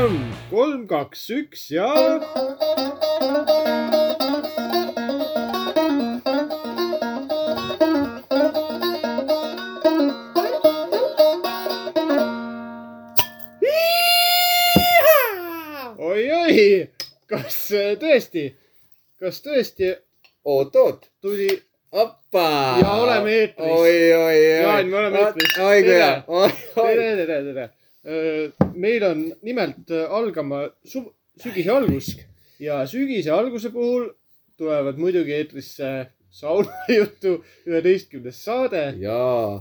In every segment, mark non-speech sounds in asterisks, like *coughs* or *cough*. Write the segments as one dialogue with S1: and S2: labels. S1: *clears throat* kolm , kaks , üks ja . oi-oi , kas äh, tõesti , kas tõesti
S2: oot-oot ,
S1: tuli ,
S2: appa .
S1: Ja oleme eetris.
S2: oi , oi , oi .
S1: Jaan, me oleme eetris.
S2: oi kui hea
S1: Tere. ,
S2: oi , oi .
S1: tere , tere , tere . meil on nimelt algama su- sügise algus ja sügise alguse puhul tulevad muidugi eetrisse saunajutu üheteistkümnes saade
S2: jaa ,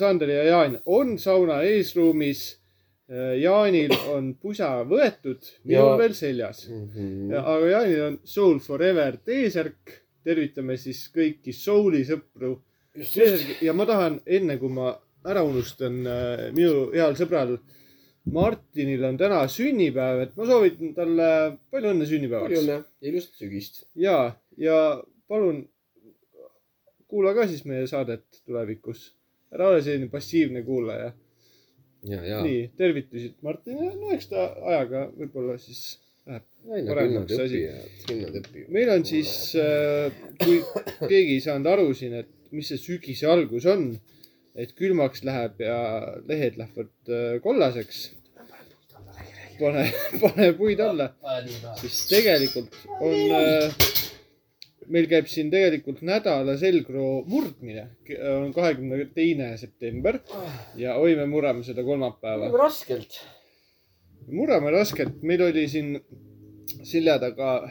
S1: Sander ja Jaan on sauna eesruumis . Jaanil on pusa võetud , minul
S2: Ja-
S1: veel seljas . aga Jaanil on Soul Forever T-särk . tervitame siis kõiki Souli sõpru .
S2: just , just .
S1: ja ma tahan , enne kui ma ära unustan , minu heal sõbral Martinil on täna sünnipäev , et ma soovitan talle palju õnne sünnipäevaks .
S2: iluline , ilusat sügist .
S1: ja , ja palun kuula ka siis meie saadet tulevikus . ära ole selline passiivne kuulaja .
S2: ja , ja .
S1: nii , tervitused Martinile , no eks ta ajaga võib-olla siis läheb .
S2: aina küll
S1: paremaks
S2: nad
S1: asi.
S2: õpivad , küll nad õpivad .
S1: meil on siis , kui keegi ei saanud aru siin , et mis see sügise algus on , et külmaks läheb ja lehed lähevad äh, kollaseks . pane , pane puid alla , siis tegelikult on , meil käib siin tegelikult nädala selgroo murdmine , on kahekümne teine september ja oi , me murrame seda kolmapäeva .
S2: raskelt .
S1: murrame raskelt , meil oli siin selja taga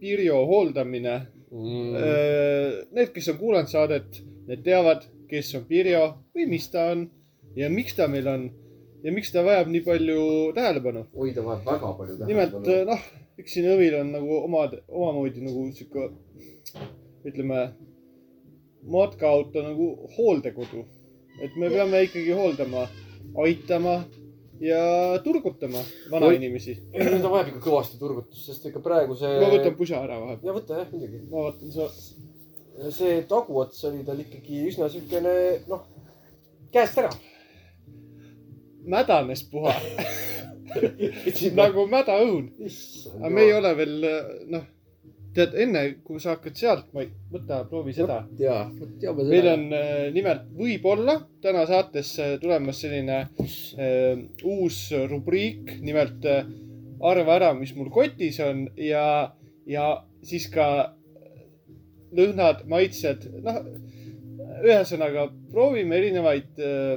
S1: Pirjo hooldamine .
S2: Mm.
S1: Äh. Need , kes on kuulanud saadet , need teavad , kes on Pirjo või mis ta on ja miks ta meil on ja miks ta vajab nii palju tähelepanu .
S2: oi , ta vajab väga palju
S1: nimelt noh , eks siin õvil on nagu omad , omamoodi nagu sihuke ütleme , matkaauto nagu hooldekodu , et me peame ikkagi hooldama , aitama ja turgutama vanainimesi .
S2: ta vajab ikka kõvasti turgutust , sest ikka praegu see .
S1: ma võtan pusa ära vahepeal .
S2: ja võta jah , muidugi .
S1: ma vaatan sa .
S2: see taguots oli tal ikkagi üsna siukene , noh , käest ära .
S1: mädanes puha *laughs* nagu mädaõun . aga me ei . ole veel , noh , tead enne kui sa hakkad sealt , ma ei , võta proovi seda .
S2: ja , vot teame
S1: meil on äh, nimelt võib-olla täna saatesse tulemas selline äh, uus rubriik , nimelt äh, arva ära , mis mul kotis on ja , ja siis ka äh, lõhnad , maitsed , noh , ühesõnaga proovime erinevaid äh,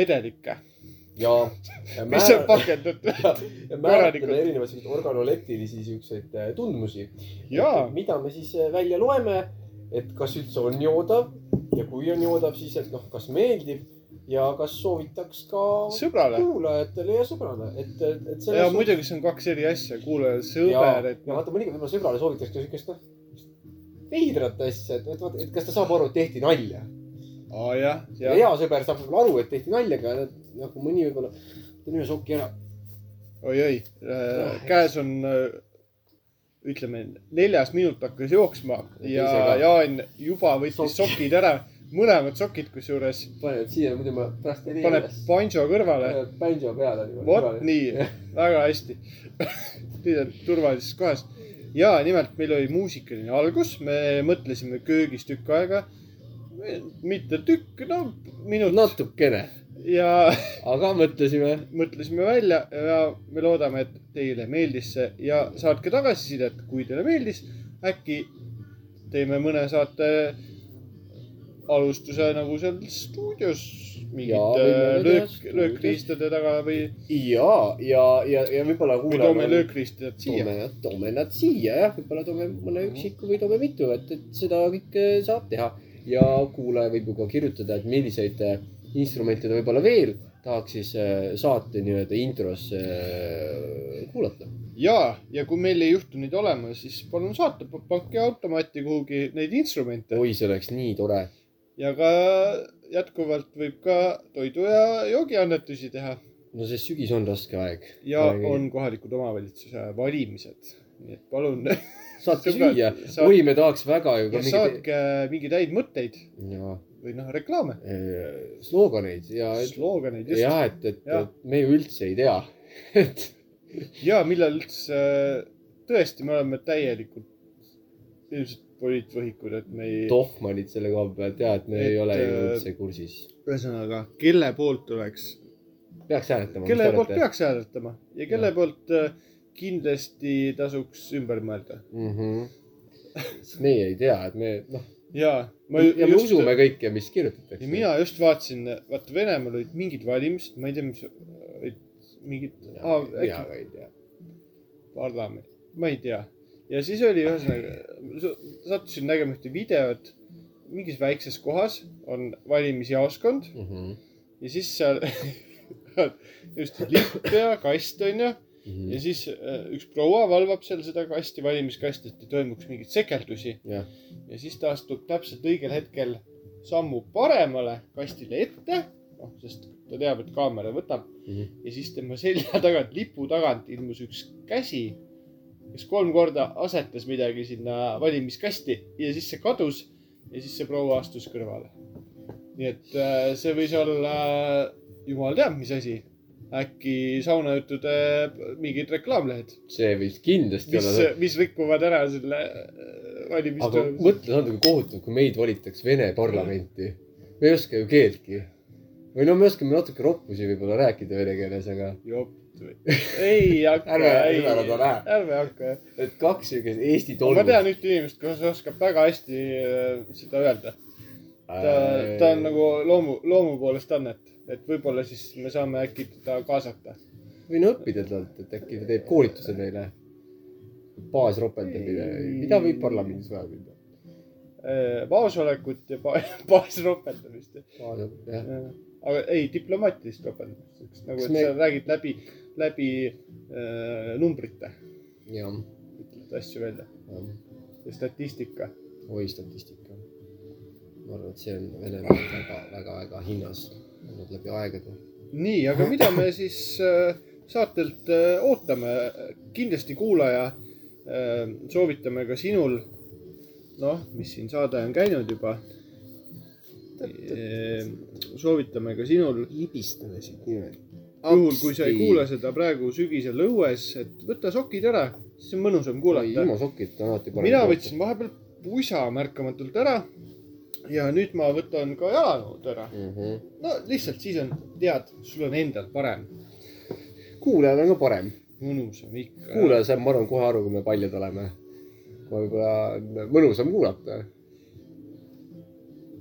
S1: vedelikke ,
S3: ja
S1: mis on
S3: määr-
S1: pakendatud . *laughs*
S3: *laughs* ja
S1: korralikult.
S3: määratleme erinevaid selliseid organoleptilisi siukseid äh, tundmusi ,
S1: jaa ,
S3: mida me siis äh, välja loeme , et kas üldse on joodav ja kui on joodav , siis et noh , kas meeldib ja kas soovitaks ka
S1: sõbrale .
S3: kuulajatele ja sõbrale , et , et
S1: ja . muidugi see on kaks eri asja , kuulaja ja
S3: ja,
S1: sõber , et
S3: ja
S1: noh ,
S3: vaata , mõnikord võib-olla sõbrale soovitaks ka siukest noh , veidrat asja , et , et vaata , et kas ta saab aru , et tehti nalja .
S1: aa jah ,
S3: ja
S1: jah ,
S3: hea sõber saab võib-olla aru , et tehti nalja , aga nagu mõni võib-olla , ta on ühe soki ära .
S1: oi-oi , käes on äh, ütleme , neljas minut hakkas jooksma ja
S3: Ise ka.
S1: Jaan juba võttis sokid ära , mõlemad sokid kusjuures ,
S3: paned siia , muidu ma pärast ei leia
S1: paneb
S3: üles .
S1: banjo kõrvale ,
S3: paned bändžo peale .
S1: vot . nii , väga hästi . *laughs* nüüd on turvalises kohas ja nimelt meil oli muusikaline algus , me mõtlesime köögis tükk aega , mitte tükk , no minut no.
S2: natukene ,
S1: ja
S2: aga mõtlesime .
S1: mõtlesime välja ja me loodame , et teile meeldis see ja saatke tagasisidet , kui teile meeldis . äkki teeme mõne saate alustuse nagu seal stuudios
S2: Jaa,
S1: mingite
S2: võime
S1: äh,
S2: teha
S1: löök ,
S2: stuudios.
S1: löökriistade taga või ,
S2: ja , ja , ja , ja võib-olla
S1: või toome
S2: kuulame .
S1: löökriistad siia .
S2: toome , toome nad siia jah , võib-olla toome mõne üksiku või toome mitu , et , et seda kõike saab teha ja kuulaja võib ju ka kirjutada , et milliseid äh, instrumente ta võib-olla veel tahaks siis äh, saate nii-öelda intros äh, kuulata .
S1: ja , ja kui meil ei juhtu neid olema , siis palun saata , pange automaati kuhugi neid instrumente
S2: oi , see oleks nii tore .
S1: ja ka jätkuvalt võib ka toidu ja joogiannetusi teha .
S2: no see sügis on raske aeg .
S1: ja on kohalikud omavalitsuse valimised . nii et palun
S2: saate
S1: *laughs* Sõbrad,
S2: süüa ,
S1: saat-
S2: oi , me tahaks väga ju ka mingit ,
S1: saatke mingeid häid mõtteid
S2: jaa ,
S1: või noh , reklaame ,
S2: sloganeid äh, ja ,
S1: slooganeid just ja,
S2: ja et , et ,
S1: Jah.
S2: et me ju üldse ei tea , *laughs* et
S1: ja millal üldse tõesti me oleme täielikult ilmselt poliitvõhikud , et me ei ,
S2: tohmanid selle koha pealt ja et me et, ei
S1: Et,
S2: ole ju
S1: äh,
S2: üldse kursis .
S1: ühesõnaga , kelle poolt oleks
S2: peaks hääletama .
S1: kelle poolt ? peaks hääletama ja kelle ja. poolt äh, kindlasti tasuks ümber mõelda .
S2: Mhm. sest meie ei tea , et me noh ,
S1: ja ma ju-
S2: ja me
S1: just,
S2: usume kõike , mis
S1: ja
S2: kirjutatakse .
S1: mina just vaatasin , vaata Venemaal olid mingid valimised , ma ei tea , mis olid mingid ,
S2: mina
S1: äkki
S2: ka ei tea .
S1: parlament , ma ei tea . ja siis oli ühesõnaga , sattusin nägema ühte videot , mingis väikses kohas on valimisjaoskond
S2: Mhm.
S1: ja siis seal *laughs* just lipp ja kast onju
S2: Mhm.
S1: ja siis äh, üks proua valvab seal seda kasti , valimiskasti , et ei toimuks mingeid sekeldusi .
S2: Jah.
S1: ja siis ta astub täpselt õigel hetkel sammu paremale kastile ette , noh , sest ta teab , et kaamera võtab
S2: Mhm.
S1: ja siis tema selja *laughs* tagant , lipu tagant ilmus üks käsi , kes kolm korda asetas midagi sinna valimiskasti ja siis see kadus ja siis see proua astus kõrvale . nii et äh, see võis olla äh, jumal teab mis asi , äkki saunajuttude mingid reklaamlehed ,
S2: see võis kindlasti
S1: mis
S2: olla ,,
S1: mis rikuvad ära selle äh,
S2: aga
S1: valimistulemuse .
S2: mõtle , see on nagu kohutav , kui meid valitakse Vene parlamenti . me ei oska ju keeltki . või no me oskame natuke roppusi võib-olla rääkida vene keeles , aga
S1: ei hakka ,
S2: *laughs* Ärme-
S1: ei ,
S2: ärme ära lähe.
S1: ärme hakka jah .
S2: et kaks siukest Eesti
S1: ma
S2: tolmu .
S1: tean ühte inimest , kes oskab väga hästi äh, seda öelda . ta , ta on . nagu loomu , loomu poolest annet , et võib-olla siis me saame äkki teda kaasata .
S2: võin õppida talt , et äkki ta teeb koolituse meile . baasropendamine , mida võib parlamendis vaja minna ?
S1: Äh, vaosolekut ja ba- *laughs* baasropendamist .
S2: jah ,
S1: aga ei , diplomaatilist ropendamist , eks nagu
S2: Kas
S1: et
S2: me-
S1: sa räägid läbi , läbi äh, numbrite ,
S2: jah ,
S1: ütled asju välja ja statistika .
S2: oi statistika . ma arvan , et see on Venemaal väga-väga-väga hinnas olnud läbi aegade .
S1: nii , aga mida me siis äh, saatelt äh, ootame ? kindlasti kuulaja äh, , soovitame ka sinul , noh , mis siin saade on käinud juba . soovitame ka sinul ,
S2: libistame siit niimoodi .
S1: juhul kui sa ei kuule seda praegu sügisel õues , et võta sokid ära , siis on mõnusam kuulata .
S2: ilma sokita on alati parem .
S1: mina . võtsin vahepeal pusa märkamatult ära ja nüüd ma võtan ka jalanõud ära .
S2: Mhm.
S1: no lihtsalt siis on , tead , sul on endal parem ,
S2: kuulajal on ka parem .
S1: mõnusam ikka .
S2: kuulaja saab , ma arvan , kohe aru , kui me paljad oleme . võib-olla on mõnusam kuulata .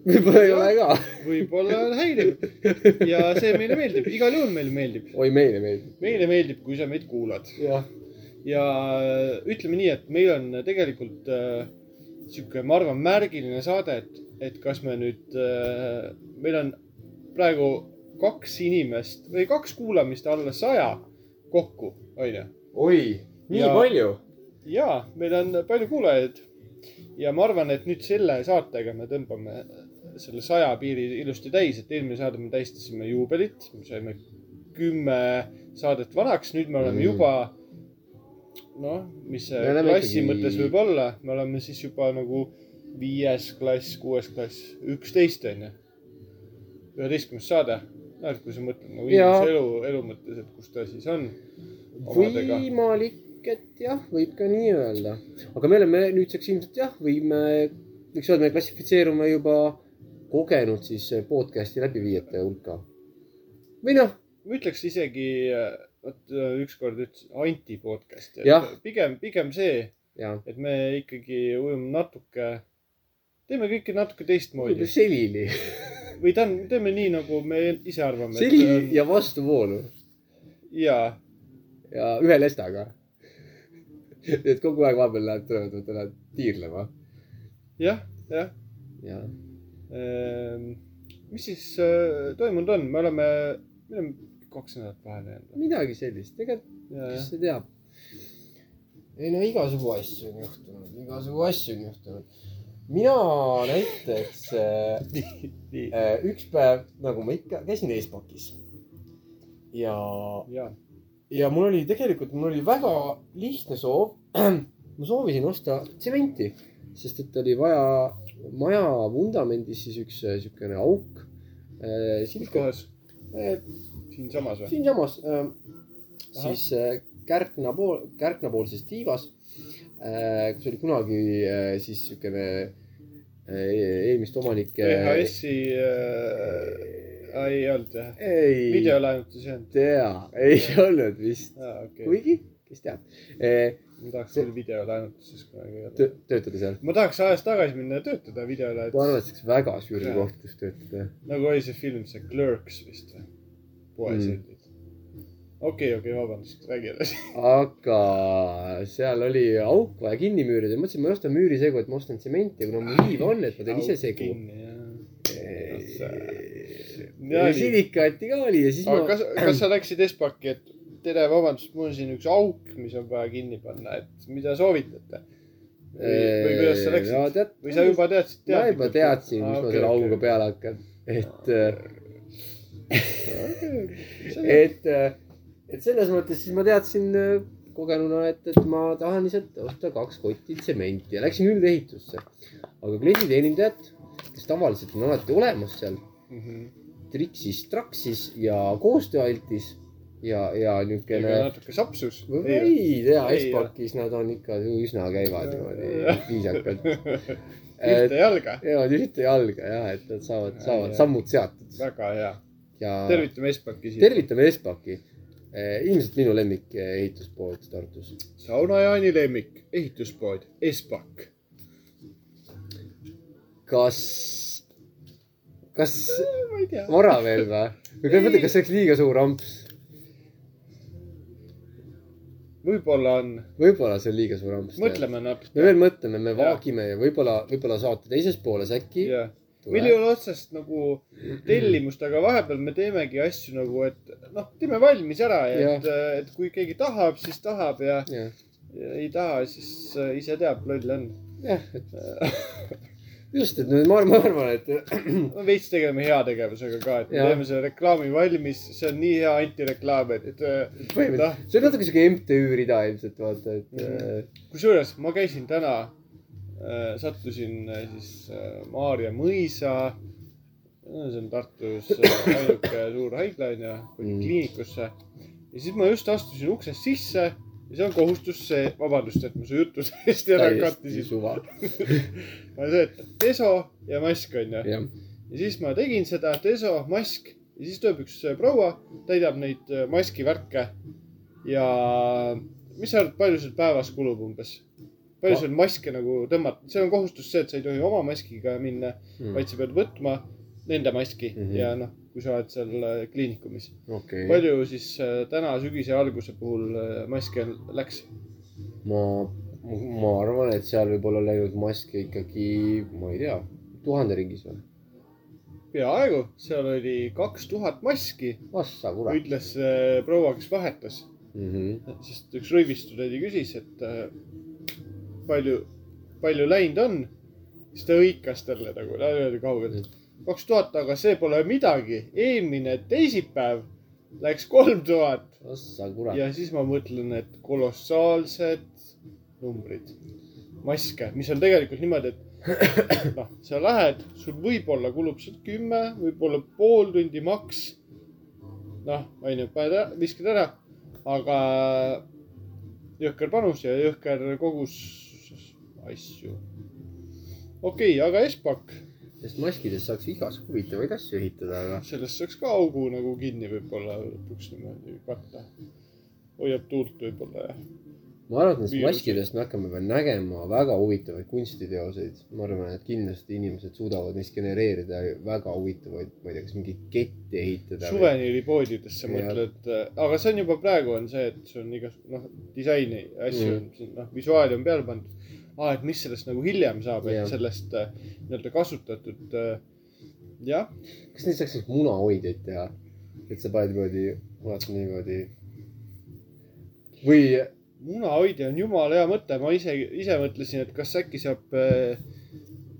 S2: võib-olla ei ole ka .
S1: võib-olla on häiriv ja see meile meeldib , igal juhul meile meeldib .
S2: oi , meile meeldib .
S1: meile meeldib , kui sa meid kuulad
S2: jah ,
S1: ja ütleme nii , et meil on tegelikult äh, sihuke , ma arvan , märgiline saade , et , et kas me nüüd äh, , meil on praegu kaks inimest või kaks kuulamist alla saja kokku , onju .
S3: oi , nii
S1: Ja-
S3: ja... palju .
S1: ja meil on palju kuulajaid ja ma arvan , et nüüd selle saatega me tõmbame selle saja piiri ilusti täis , et eelmine saade me tähistasime juubelit , me saime kümme saadet vanaks , nüüd me oleme
S2: Mm.
S1: juba noh , mis see
S2: Me oleme
S1: klassi
S2: ikkagi-
S1: mõttes võib olla , me oleme siis juba nagu viies klass , kuues klass , üksteist onju , üheteistkümnes saade noh , et kui sa mõtled nagu
S2: Jaa.
S1: inimese elu , elu mõttes , et kus ta siis on . Omadega.
S2: võimalik , et jah , võib ka nii öelda . aga me oleme nüüdseks ilmselt jah , võime , võiks öelda , me klassifitseerume juba kogenud siis eh, podcast'i läbiviijate hulka . või noh ,
S1: ma ütleks isegi , vot äh, ükskord ütles anti podcast ,
S2: Jah.
S1: et pigem , pigem see ,
S2: ja
S1: et me ikkagi ujume natuke , teeme kõike natuke teistmoodi
S2: võib-olla selili ,
S1: või ta on , teeme nii , nagu me ise arvame .
S2: selili ja vastuvoolu
S1: ja
S2: ja ühe lestaga . et kogu aeg vahepeal lähed , tulevad , tulevad tiirlema
S1: jah , jah .
S2: ja
S1: mis siis äh, toimunud on , me oleme , me oleme kaks nädalat vahele jäänud .
S2: midagi sellist , ega kes see teab .
S3: ei no igasugu asju on juhtunud , igasugu asju on juhtunud . mina näiteks äh,
S1: nii ,
S3: äh, üks päev , nagu ma ikka käisin Espakis . ja ,
S1: ja ,
S3: ja mul oli tegelikult , mul oli väga lihtne soov . *clears throat*
S2: ma soovisin osta tsementi , sest et oli vaja maja vundamendis siis üks äh, siukene auk .
S3: äh,
S1: kus kohas ? siinsamas või ?
S2: siinsamas ,
S1: Ahah.
S2: siis äh, Kärkna pool , Kärkna poolses tiivas , kus oli kunagi äh, siis siukene äh, eelmiste omanike .
S1: E VHS-i äh, , ei olnud jah ,
S2: ei
S1: videolaenutus ei olnud .
S2: tea , ei olnud vist ,
S1: aa , okei okay. ,
S2: kuigi , kes teab eh, ,
S1: ma tahaks küll videolaenutuses kunagi olla .
S2: töötada seal .
S1: ma tahaks ajas tagasi minna ja töötada
S2: ma
S1: videolaenutuses
S2: arvan , et see oleks väga süüri koht , kus töötada .
S1: nagu oli see film , see Clerks vist või ? poesildid mm. . okei okay, , okei okay, , vabandust , räägi edasi .
S2: aga seal oli auk vaja kinni müürida , mõtlesin , ma ei osta müürisegu , et ma ostan tsementi , kuna mul liiva on , et ma teen ise segu .
S1: Ja nii.
S2: silikaati ka oli ja siis
S1: aga
S2: ma ,
S1: kas , kas
S2: *clears throat*
S1: sa läksid Espaki , et tere , vabandust , mul on siin üks auk , mis on vaja kinni panna , et mida soovitate ? või või kuidas sa läksid ?
S2: tead,
S1: või sa juba teadsid ? Ah,
S2: ma juba teadsin , mis ma selle auguga peale hakkan , et ,
S1: *laughs* pean .
S2: et , et selles mõttes siis ma teadsin äh, kogenuna , et , et ma tahan lihtsalt osta kaks kotti tsementi ja läksin üldehitusse . aga klienditeenindajad , kes tavaliselt on alati olemas seal ,
S1: Mhm.
S2: triksis , traksis ja koostööaltis ja , ja niisugune
S1: natuke sapsus .
S2: ma ei tea ,
S1: Ei,
S2: Espakis nad on ikka üsna käivad niimoodi viisakalt .
S1: *laughs* ühte jalga ,
S2: jäävad ühte jalga ja , et nad saavad ,
S1: Ja.
S2: saavad sammud seatud
S1: väga hea .
S2: ja
S1: tervitame Espaki siia .
S2: tervitame Espaki . ilmselt minu lemmik eh, ehituspood Tartus .
S1: sauna Jaani lemmik , ehituspood , Espak .
S2: kas , kas
S1: ma ei tea .
S2: vara veel või ? või kas mõtled , kas see oleks liiga suur amps ?
S1: võib-olla on ,
S2: võib-olla see on liiga suur amps .
S1: mõtleme
S2: me
S1: natuke .
S2: veel mõtleme , me
S1: Jah.
S2: vaagime ja võib-olla , võib-olla saate teises pooles äkki .
S1: meil ei ole otsest nagu tellimust , aga vahepeal me teemegi asju nagu , et noh , teeme valmis ära ja
S2: Jah.
S1: et , et kui keegi tahab , siis tahab ja
S2: jah ,
S1: ja ei taha , siis äh, ise teab , loll on .
S2: jah , et just , et ma , ma arvan , et
S1: no veits tegeleme heategevusega ka , et me
S2: Jah.
S1: teeme selle reklaami valmis , see on nii hea antireklaam , et äh,
S2: põhimõtteliselt
S1: noh ,
S2: see on natuke siuke MTÜ rida ilmselt vaata , et äh,
S1: Mhm. kusjuures ma käisin täna äh, , sattusin äh, siis äh, Maarja mõisa . see on Tartus äh,
S2: *coughs*
S1: ainuke suur haigla onju ,
S2: Mm.
S1: kliinikusse . ja siis ma just astusin uksest sisse ja see on kohustus , see , vabandust , et ma su *laughs* jutu seest ära
S2: täiesti
S1: kattisin .
S2: suva .
S1: ma see , et peso ja mask onju .
S2: jah ,
S1: ja siis ma tegin seda deso mask ja siis tuleb üks äh, proua , täidab neid äh, maski värke . ja mis sa arvad , palju sul päevas kulub umbes ? palju
S2: Ma-
S1: sul maske nagu tõmmata , see on kohustus see , et sa ei tohi oma maskiga minna ,
S2: Hmm.
S1: vaid sa pead võtma nende maski mm
S2: Mhm.
S1: -hmm. ja noh , kui sa oled seal äh, kliinikumis .
S2: okei ,
S1: palju siis äh, täna sügise alguse puhul äh, maske läks ?
S2: ma , ma arvan , et seal võib olla läinud maske ikkagi , ma ei tea , tuhande ringis või ?
S1: peaaegu , seal oli kaks tuhat maski ,
S2: vasta kurat .
S1: ütles äh, proua , kes vahetas
S2: Mhm.
S1: sest üks rõivistutädi küsis , et äh, palju , palju läinud on . siis ta hõikas talle nagu , ta oli kaugel , kaks tuhat , aga see pole midagi . eelmine teisipäev läks kolm tuhat
S2: vasta kurat .
S1: ja siis ma mõtlen , et kolossaalsed numbrid , maske , mis on tegelikult niimoodi , et noh , sa lähed , sul võib-olla kulub sealt kümme , võib-olla pool tundi maks . noh , onju , paned ära , viskad ära , aga jõhker panus ja jõhker kogus asju . okei okay, , aga Espak ,
S2: sest maskidest saaks igasugu huvitavaid asju ehitada , aga
S1: sellest saaks ka augu nagu kinni võib-olla lõpuks niimoodi katta . hoiab tuult võib-olla ja
S2: ma arvan , et nendest
S1: Viirus.
S2: maskidest me hakkame veel nägema väga huvitavaid kunstiteoseid . ma arvan , et kindlasti inimesed suudavad neist genereerida väga huvitavaid , ma ei tea , kas mingeid kette ehitada .
S1: suveniiripoodidesse
S2: Ja.
S1: mõtled , aga see on juba praegu on see , et see on igas- , noh , disaini asju
S2: Mm.
S1: mm. , noh , visuaali on peale pandud . aa , et mis sellest nagu hiljem saab , et
S2: Jah.
S1: sellest äh, nii-öelda kasutatud äh, jah ,
S2: kas neist saaks siis munahoidjaid teha ? et sa paned niimoodi , vaatad niimoodi . või
S1: munahoidja on jumala hea mõte , ma ise , ise mõtlesin , et kas äkki saab äh,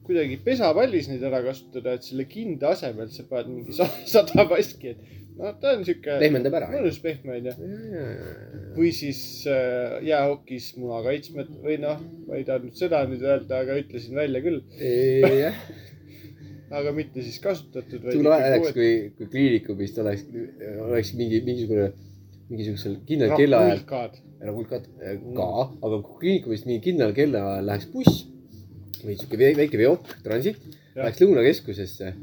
S1: kuidagi pesapallis neid ära kasutada , et selle kinda asemel sa paned mingi sa- *laughs* sada maski , et noh , ta on sihuke
S2: pehmendab ära .
S1: mõnus pehme , onju . või siis äh, jäähokis munakaitsmed või noh , ma ei tahtnud seda nüüd öelda , aga ütlesin välja küll ,
S2: jah ,
S1: aga mitte siis kasutatud .
S2: tule oleks , kui , kui kliinikumist oleks , oleks mingi , mingisugune , mingisugusel kindlal
S1: Noh,
S2: kellaajal , ära
S1: Nagu
S2: kulkad äh, ka , aga kui kliinikumist mingi kindlal kellaajal läheks buss või sihuke vei- väike veok , transit ,
S1: Jah.
S2: läheks Lõunakeskusesse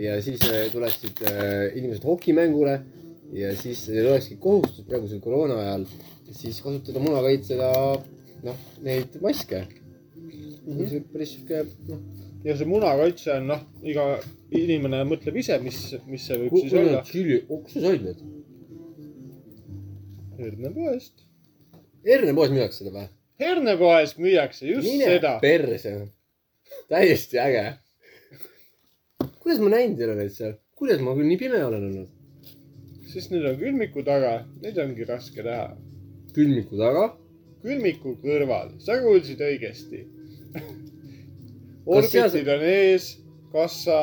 S2: ja siis äh, tuleksid äh, inimesed hokimängule ja siis neil olekski kohustus praegusel koroona ajal siis kasutada munakaitsega noh , neid maske mm .
S1: Mhm.
S2: -hmm. päris sihuke noh ,
S1: ja see munakaitse on noh , iga inimene mõtleb ise , mis , mis see võib
S2: kus
S1: siis olla .
S2: sa said need ?
S1: hernepoest .
S2: hernepoes müüakse seda või ?
S1: hernepoes müüakse just Mine. seda .
S2: perse . täiesti äge . kuidas ma näinud ei ole neid seal , kuidas ma küll nii pime olen olnud ?
S1: sest need on külmiku taga , neid ongi raske teha .
S2: külmiku taga .
S1: külmiku kõrval , sa kuulsid õigesti .
S2: *laughs* Kas seal-
S1: orbitid on ees , kassa ,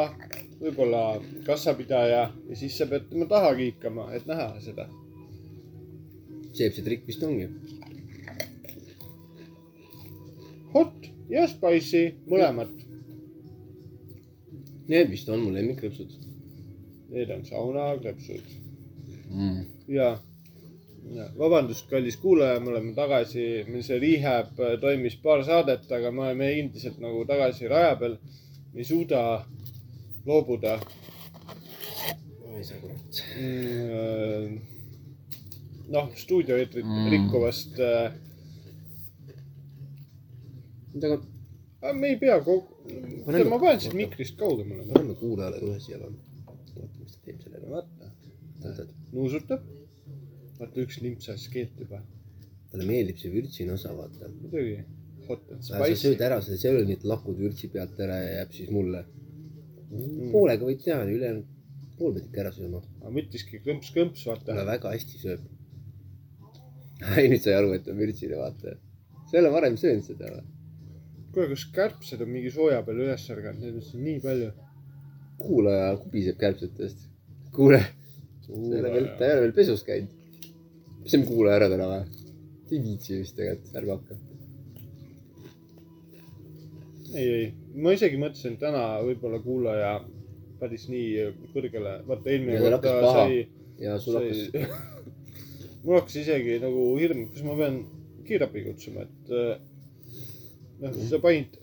S1: võib-olla kassapidaja ja siis sa pead tema taha kiikama , et näha seda .
S2: see , see trikk vist ongi .
S1: Hot ja spicy , mõlemat .
S2: Need vist on mu lemmikrõpsud
S1: Need on saunakrõpsud
S2: mm. .
S1: ja , ja vabandust , kallis kuulaja , me oleme tagasi , meil see rehab äh, toimis paar saadet , aga me oleme endiselt nagu tagasi raja peal . me ei suuda loobuda
S2: oi sa kurat .
S1: Mm, noh , stuudioeetrit mm.
S2: Mm.
S1: rikkuvast äh, .
S2: oota ,
S1: aga me ei pea kogu ,
S2: Pane-
S1: ma panen siit
S2: oota.
S1: mikrist
S2: aga
S1: kaugemale ,
S2: paneme kuulajale kohe siia peale . vaata , mis ta teeb sellega .
S1: vaata ,
S2: vaata ,
S1: nuusutab . vaata , üks limps ajas keelt juba ,
S2: talle meeldib see vürtsine osa , vaata .
S1: muidugi . Hot and
S2: sa sööd
S1: spicy .
S2: ära selle seloni , et lakud vürtsi pealt ära ja jääb siis mulle .
S1: Mm.
S2: poolega võid teha , ülejäänud pool pead ikka ära sööma .
S1: aga mõtleski klõmps-klõmps , vaata
S2: ta . väga hästi sööb . *laughs* ei , nüüd sai aru , et on vürtsile , vaata . sa ei ole varem söönud seda või ?
S1: kuule , kas kärbsed on mingi sooja peal üles ärganud , neid on nii palju .
S2: kuulaja kubiseb kärbsetest . kuule , ta ei ole veel , ta ei ole veel pesus käinud . laseme kuulaja ära täna või ? ei viitsi vist tegelikult , ärme hakka .
S1: ei , ei , ma isegi mõtlesin et täna võib-olla kuulaja päris nii kõrgele , vaata eelmine
S2: Ja tal
S1: kord ta
S2: hakkas paha.
S1: sai
S2: ja sul hakkas , *laughs*
S1: *laughs* mul hakkas isegi nagu hirm , kas ma pean kiirabi kutsuma , et äh, noh , sa panid ,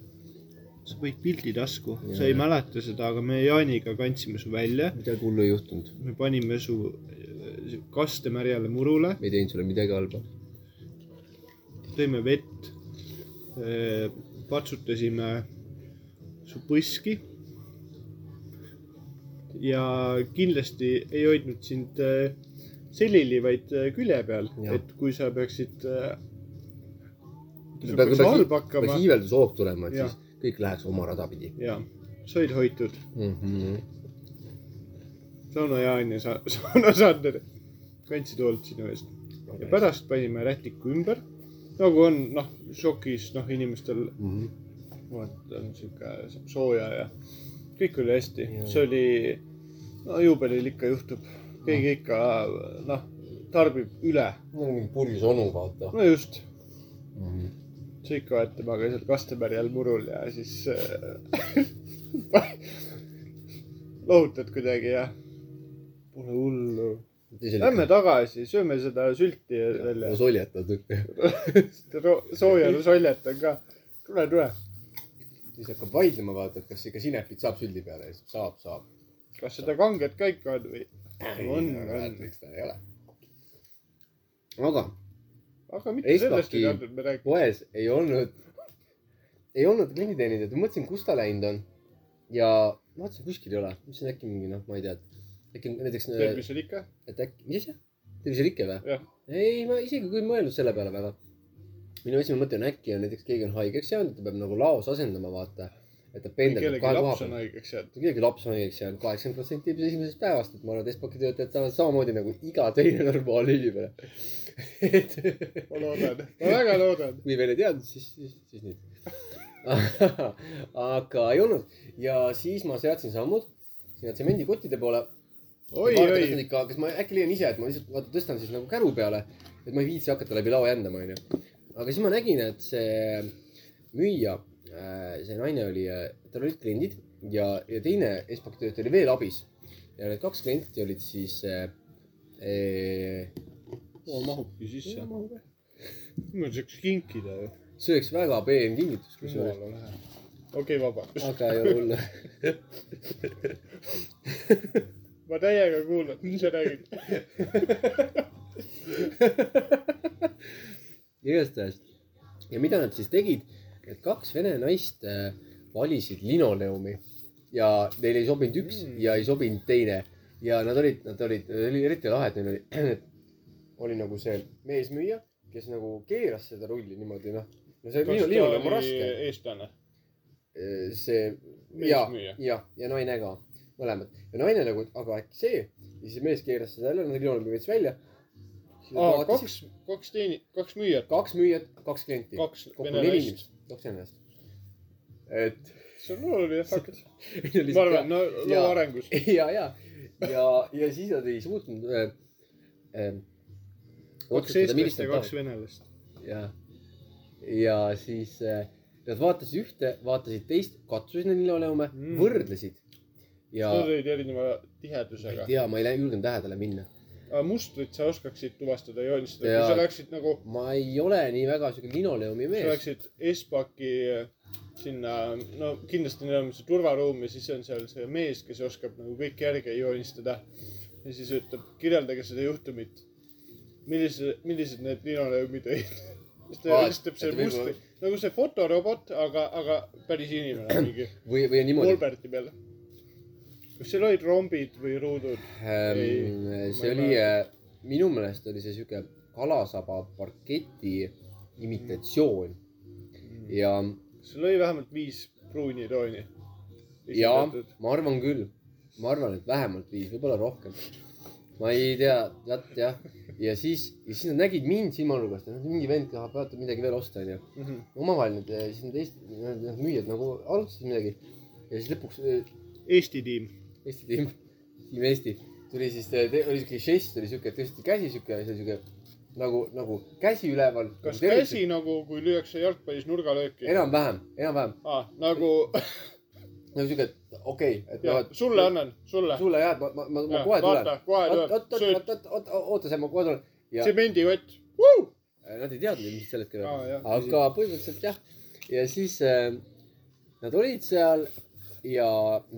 S1: sa panid pildi tasku , sa ei
S2: Jaa.
S1: mäleta seda , aga me Jaaniga kandsime su välja ,
S2: midagi hullu ei juhtunud .
S1: me panime su äh, kaste märjale murule ,
S2: me ei teinud sulle midagi halba .
S1: tõime vett , patsutasime su põski . ja kindlasti ei hoidnud sind äh, selili , vaid äh, külje peal ,
S2: Jah.
S1: et kui sa peaksid äh, kui sul
S2: peaks
S1: peaks halb hakkama.
S2: peaks hiiveldushoog tulema , et
S1: Jah.
S2: siis kõik läheks oma rada pidi
S1: ja sa olid hoitud ,
S2: mm .
S1: Mhm.
S2: -hmm.
S1: Sauno Jaan ja sa- *laughs* Sauno Sander kandsid hoolt sinu eest ja pärast panime rätiku ümber nagu on noh , šokis noh , inimestel
S2: mm . -hmm.
S1: vaat on sihuke saab sooja ja kõik oli hästi
S2: Jaa. ,
S1: see oli , no juubelil ikka juhtub , keegi ikka noh , tarbib üle ,
S2: mul on mingi purjus onu , vaata
S1: no just ,
S2: mm . -hmm.
S1: sa ikka oled temaga seal Kastemäärjal murul ja siis äh, *laughs* lohutad kuidagi ja pole hullu . Lähme tagasi , sööme seda sülti välja
S2: välja .. soljetad *laughs* nüüd .
S1: *laughs* sooja soljet on ka , tule , tule ,
S2: siis hakkab vaidlema , vaata , et kas ikka sinepit saab süldi peale ja siis saab , saab .
S1: kas seda kanget ka ikka on või ? on , on
S2: miks ta ei ole . aga
S1: aga mitte
S2: Estaki-
S1: sellest ei tahtnud me rääkida .
S2: poes ei olnud , ei olnud klienditeenindajat , ma mõtlesin , kus ta läinud on . ja ma vaatasin , kuskil ei ole , mõtlesin äkki mingi noh , ma ei tea , äkki näiteks ,
S1: tervisel ikka .
S2: et äkki , mis asja , terviserike või
S1: Jah. ?
S2: ei , ma isegi kui ei mõelnud selle peale väga . minu esimene mõte on äkki on näiteks keegi on haigeks jäänud , ta peab nagu laos asendama , vaata , et ta pendeldab
S1: kellegi
S2: kahe koha
S1: laps
S2: peal
S1: on haigeks jäänud .
S2: muidugi laps on õigeks jäänud , kaheksakümmend protsenti juba esimesest päevast , et ma arvan , et Espaki töötajad saavad samamoodi nagu iga teine normaalne inimene . *laughs* et
S1: ma loodan , ma väga loodan .
S2: kui veel ei teadnud , siis , siis , siis *laughs* nüüd . aga ei olnud ja siis ma seadsin sammud sinna tsemendikottide poole
S1: oi ,
S2: vaatan
S1: oi ,
S2: ikka , kas ma äkki leian ise , et ma lihtsalt vaata tõstan siis nagu käru peale , et ma ei viitsi hakata läbi lao jändama , onju . aga siis ma nägin , et see müüja , see naine oli , tal olid kliendid ja , ja teine Espak töötaja oli veel abis . ja need kaks klienti olid siis äh, äh,
S1: mahubki sisse . mul saaks kinkida ju .
S2: see oleks väga peen kingitus , kusjuures .
S1: jumala lähe . okei , vabandust .
S2: aga ei ole hullu .
S1: *laughs* ma täiega kuulan , mis sa räägid .
S2: *laughs* igastahes . ja mida nad siis tegid , et kaks vene naist äh, valisid linoleumi ja neile ei sobinud üks
S1: Mm.
S2: mm. ja ei sobinud teine ja nad olid , nad olid , oli eriti lahe , et neil oli , *clears throat* oli nagu see meesmüüja , kes nagu keeras seda rulli niimoodi , noh . no see lino- linoleum on raske .
S1: eestlane ?
S2: see ja
S1: Meesmüüja. ,
S2: ja , ja naine ka , mõlemad . ja naine nagu , et aga äkki see ja siis mees keeras seda jälle , linoleumi veits välja .
S1: aa , kaks , kaks teeni- , kaks müüjat ,
S2: kaks müüjat , kaks klienti .
S1: kaks
S2: kokku
S1: vene
S2: neli
S1: naist .
S2: inimest , kaks ennast . et . *laughs*
S1: see on oluline fakt . ma
S2: ja ,
S1: arvan , no
S2: jaa.
S1: loo arengus .
S2: *laughs* ja , ja , ja , ja siis nad ei suutnud äh, . Äh,
S1: kaks eestlast ja kaks . venelast .
S2: ja , ja siis äh, nad vaatasid ühte , vaatasid teist , katsusid neid linoleome
S1: Mm.
S2: mm. , võrdlesid . ja
S1: Nad olid erineva
S2: ma ei
S1: tihedusega .
S2: tea , ma ei lä- julgenud lähedale minna .
S1: mustrit sa oskaksid tuvastada ja joonistada ,
S2: Jaa.
S1: kui sa läksid nagu ,
S2: ma ei ole nii väga siuke linoleumi
S1: sa
S2: mees .
S1: läksid Espaki eh, sinna , no kindlasti neil on see turvaruum ja siis on seal see mees , kes oskab nagu kõiki järge joonistada . ja siis ütleb , kirjeldage seda juhtumit . millise , millised need linoleumid olid . *laughs* siis
S2: Aa, et-
S1: ta joonistab seal
S2: et võib-
S1: mustri , nagu see fotorobot , aga , aga päris
S2: *clears throat*
S1: inimene mingi .
S2: või , või niimoodi .
S1: Molberti peal . kas seal olid rombid või ruudud ?
S2: Ähm,
S1: Ei, ma
S2: see
S1: ei
S2: oli , minu meelest oli see sihuke kalasaba parketi imitatsioon ja ,
S1: kas seal oli vähemalt viis pruuni tooni ?
S2: ja ma arvan küll , ma arvan , et vähemalt viis , võib-olla rohkem . ma ei tea , vot jah , ja siis , ja siis nad nägid mind silmanurgast , noh, mingi vend tahab vaata midagi veel osta , onju .
S1: Mhm.
S2: omavahel need , siis need Eesti , need müüjad nagu arutasid midagi ja siis lõpuks äh,
S1: Eesti tiim .
S2: Eesti tiim , tiim Eesti tuli siis , oli siuke žest , oli siuke , tõsteti käsi siuke , see oli siuke nagu , nagu käsi üleval .
S1: kas käsi ? nagu , kui lüüakse jalgpallis nurgalööki ?
S2: enam-vähem , enam-vähem ,
S1: Ah, nagu ,
S2: nagu siuke , et okei okay, , et noh , et
S1: sulle . annan , sulle .
S2: sulle jah , et ma , ma , ma, ma kohe tulen .
S1: vaata , kohe
S2: oot ,
S1: tuleb
S2: oot ,,
S1: sööd
S2: oot , oot , oot , oota , ma kohe tulen . ja äh,
S1: tsemendikott .
S2: nad ei teadnud ilmselt sel hetkel ,
S1: Aa, jah,
S2: aga põhimõtteliselt jah . ja siis äh, nad olid seal ja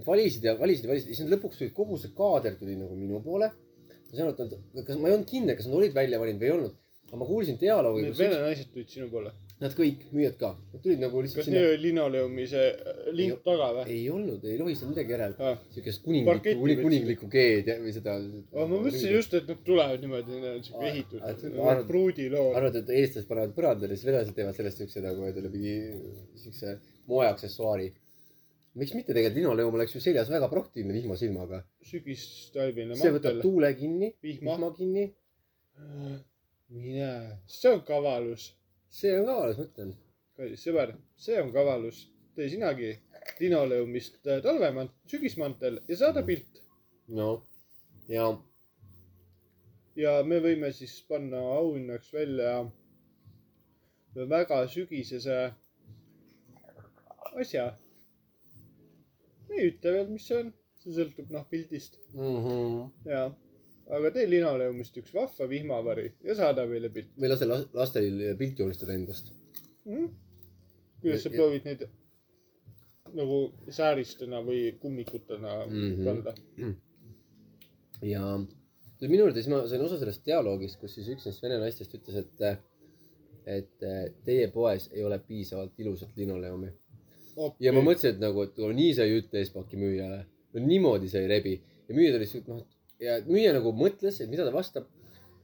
S2: valisid ja valisid ja valisid ja siis nad lõpuks tulid , kogu see kaader tuli nagu minu poole . ma saan aru , et nad , kas ma ei olnud kindel , kas nad olid välja valinud või ei olnud , aga ma kuulsin dialoogi ,
S1: Need
S2: kus
S1: vene
S2: üks,
S1: naised tulid sinu poole .
S2: nad kõik , müüjad ka , nad tulid nagu lihtsalt
S1: kas
S2: sinna
S1: neil . oli linoleumi see lint taga või ?
S2: ei olnud , ei lohisenud midagi järel ,
S1: Ah.
S2: siukest
S1: Parketti
S2: kuninglikku ,
S1: võtsid.
S2: kuninglikku keed ja- või seda .
S1: Oh, ma mõtlesin . just , et nad tulevad niimoodi , neil on siuke
S2: Aa, aa,
S1: ehitud äh,
S2: et- arvad-
S1: pruudiloor .
S2: arvad , et eestlased panevad põrandale , siis venelased teevad sellest siukse nagu , et mingi siukse moeaksessuaari . miks mitte tegelikult linoleum oleks ju seljas väga praktiline vihmasilmaga .
S1: sügistalvine
S2: see võtab
S1: mantel ,
S2: tuule kinni ,
S1: vihma .
S2: vihma kinni ,
S1: mine , see on kavalus ,
S2: see on ka alles , ma ütlen .
S1: kallis sõber , see on kavalus . tee sinagi linoleumist äh, talvemant- , sügismantel ja saada pilt
S2: no ja
S1: ja me võime siis panna auhinnaks välja ühe väga sügisese asja . me ei ütle veel , mis see on , see sõltub noh pildist
S2: mm -hmm.
S1: ja , aga tee linoleumist üks vahva vihmavari ja saada meile pilt .
S2: me ei lase las- lastel pilti joonistada endast .
S1: mm. . kuidas sa
S2: Ja- ja-
S1: proovid neid nagu sääristena või kummikutena
S2: Mhm.
S1: kanda mm
S2: ja tuli minu juurde , siis ma sain osa sellest dialoogist , kus siis üks neist vene naistest ütles , et , et äh, teie poes ei ole piisavalt ilusat linoleumi .
S1: -hmm.
S2: ja ma mõtlesin , et nagu , et no nii sa ei ütle Espaki müüjale , no niimoodi sa ei rebi ja müüja tuli siuke noh , ja müüja nagu mõtles , et mida ta vastab .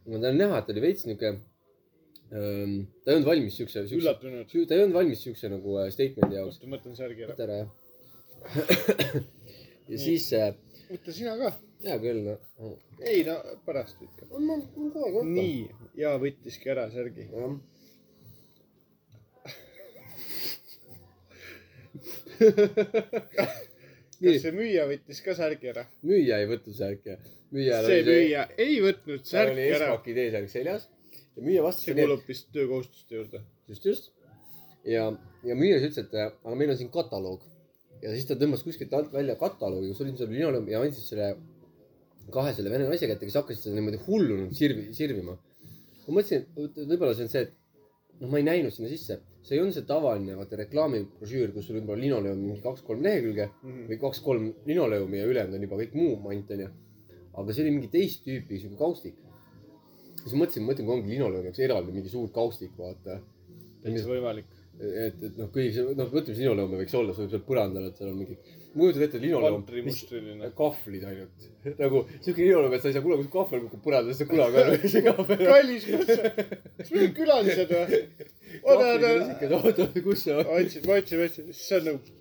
S2: ma tahan näha , et ta oli veits niuke ähm, , ta ei olnud valmis siukse , siukse ,
S1: üllatunud .
S2: ta ei olnud valmis siukse nagu äh, statement'i jaoks .
S1: oota , ma võtan särgi ära .
S2: võta ära *coughs* jah ja
S1: Nii.
S2: siis äh, ,
S1: võta sina ka .
S2: hea küll no. .
S1: ei no pärast ikka .
S2: on , on , on kogu aeg .
S1: nii ja võttiski ära särgi . *laughs*
S2: jah .
S1: kas see müüja võttis ka särgi ära ?
S2: müüja ei võtnud särke . müüja
S1: see müüja ei võtnud
S2: seal oli
S1: särki ära ,
S2: Esmaki T-särk seljas ja müüja vastas
S1: see , kuulub vist töökohustuste juurde .
S2: just , just . ja , ja müüja siis ütles , et äh, aga meil on siin kataloog ja siis ta tõmbas kuskilt alt välja kataloogi , kus oli seal linoleum ja andis selle kahe selle vene naise kätte , kes hakkasid seda niimoodi hullunult sirvi , sirvima . ma mõtlesin , et vot- võib-olla see on see , et noh , ma ei näinud sinna sisse , see ei olnud see tavaline vaata reklaamibrošüür , kus sul võib-olla linoleum mingi kaks-kolm lehekülge
S1: Mhm,
S2: või kaks-kolm linoleumi ja ülejäänud on juba kõik muu mant onju . aga see oli mingi teist tüüpi siuke kaustik . siis mõtlesin , mõtlen , kui ongi linoleum , üks eraldi mingi suur kaustik , vaata .
S1: täitsa võimalik .
S2: et , et noh , kõik see , noh , ütleme , siis linoleumi võiks olla , see võib seal põrandal , et seal on mingi , kujutad ette linoleum ,
S1: kontri
S2: mis
S1: mustriline .
S2: kahvlid ainult nagu siuke linoleum , et sa ei saa kunagi , kui kahvel kukub põrandale , siis sa
S1: *laughs*
S2: kunagi aru ei saa kahvel .
S1: *laughs* kallis kutse , kas meil on külalised
S2: *laughs*
S1: või ? oota , oota ,
S2: oota , oota , kus see on ?
S1: otsin , ma otsin , ma otsin , siis see on nagu ,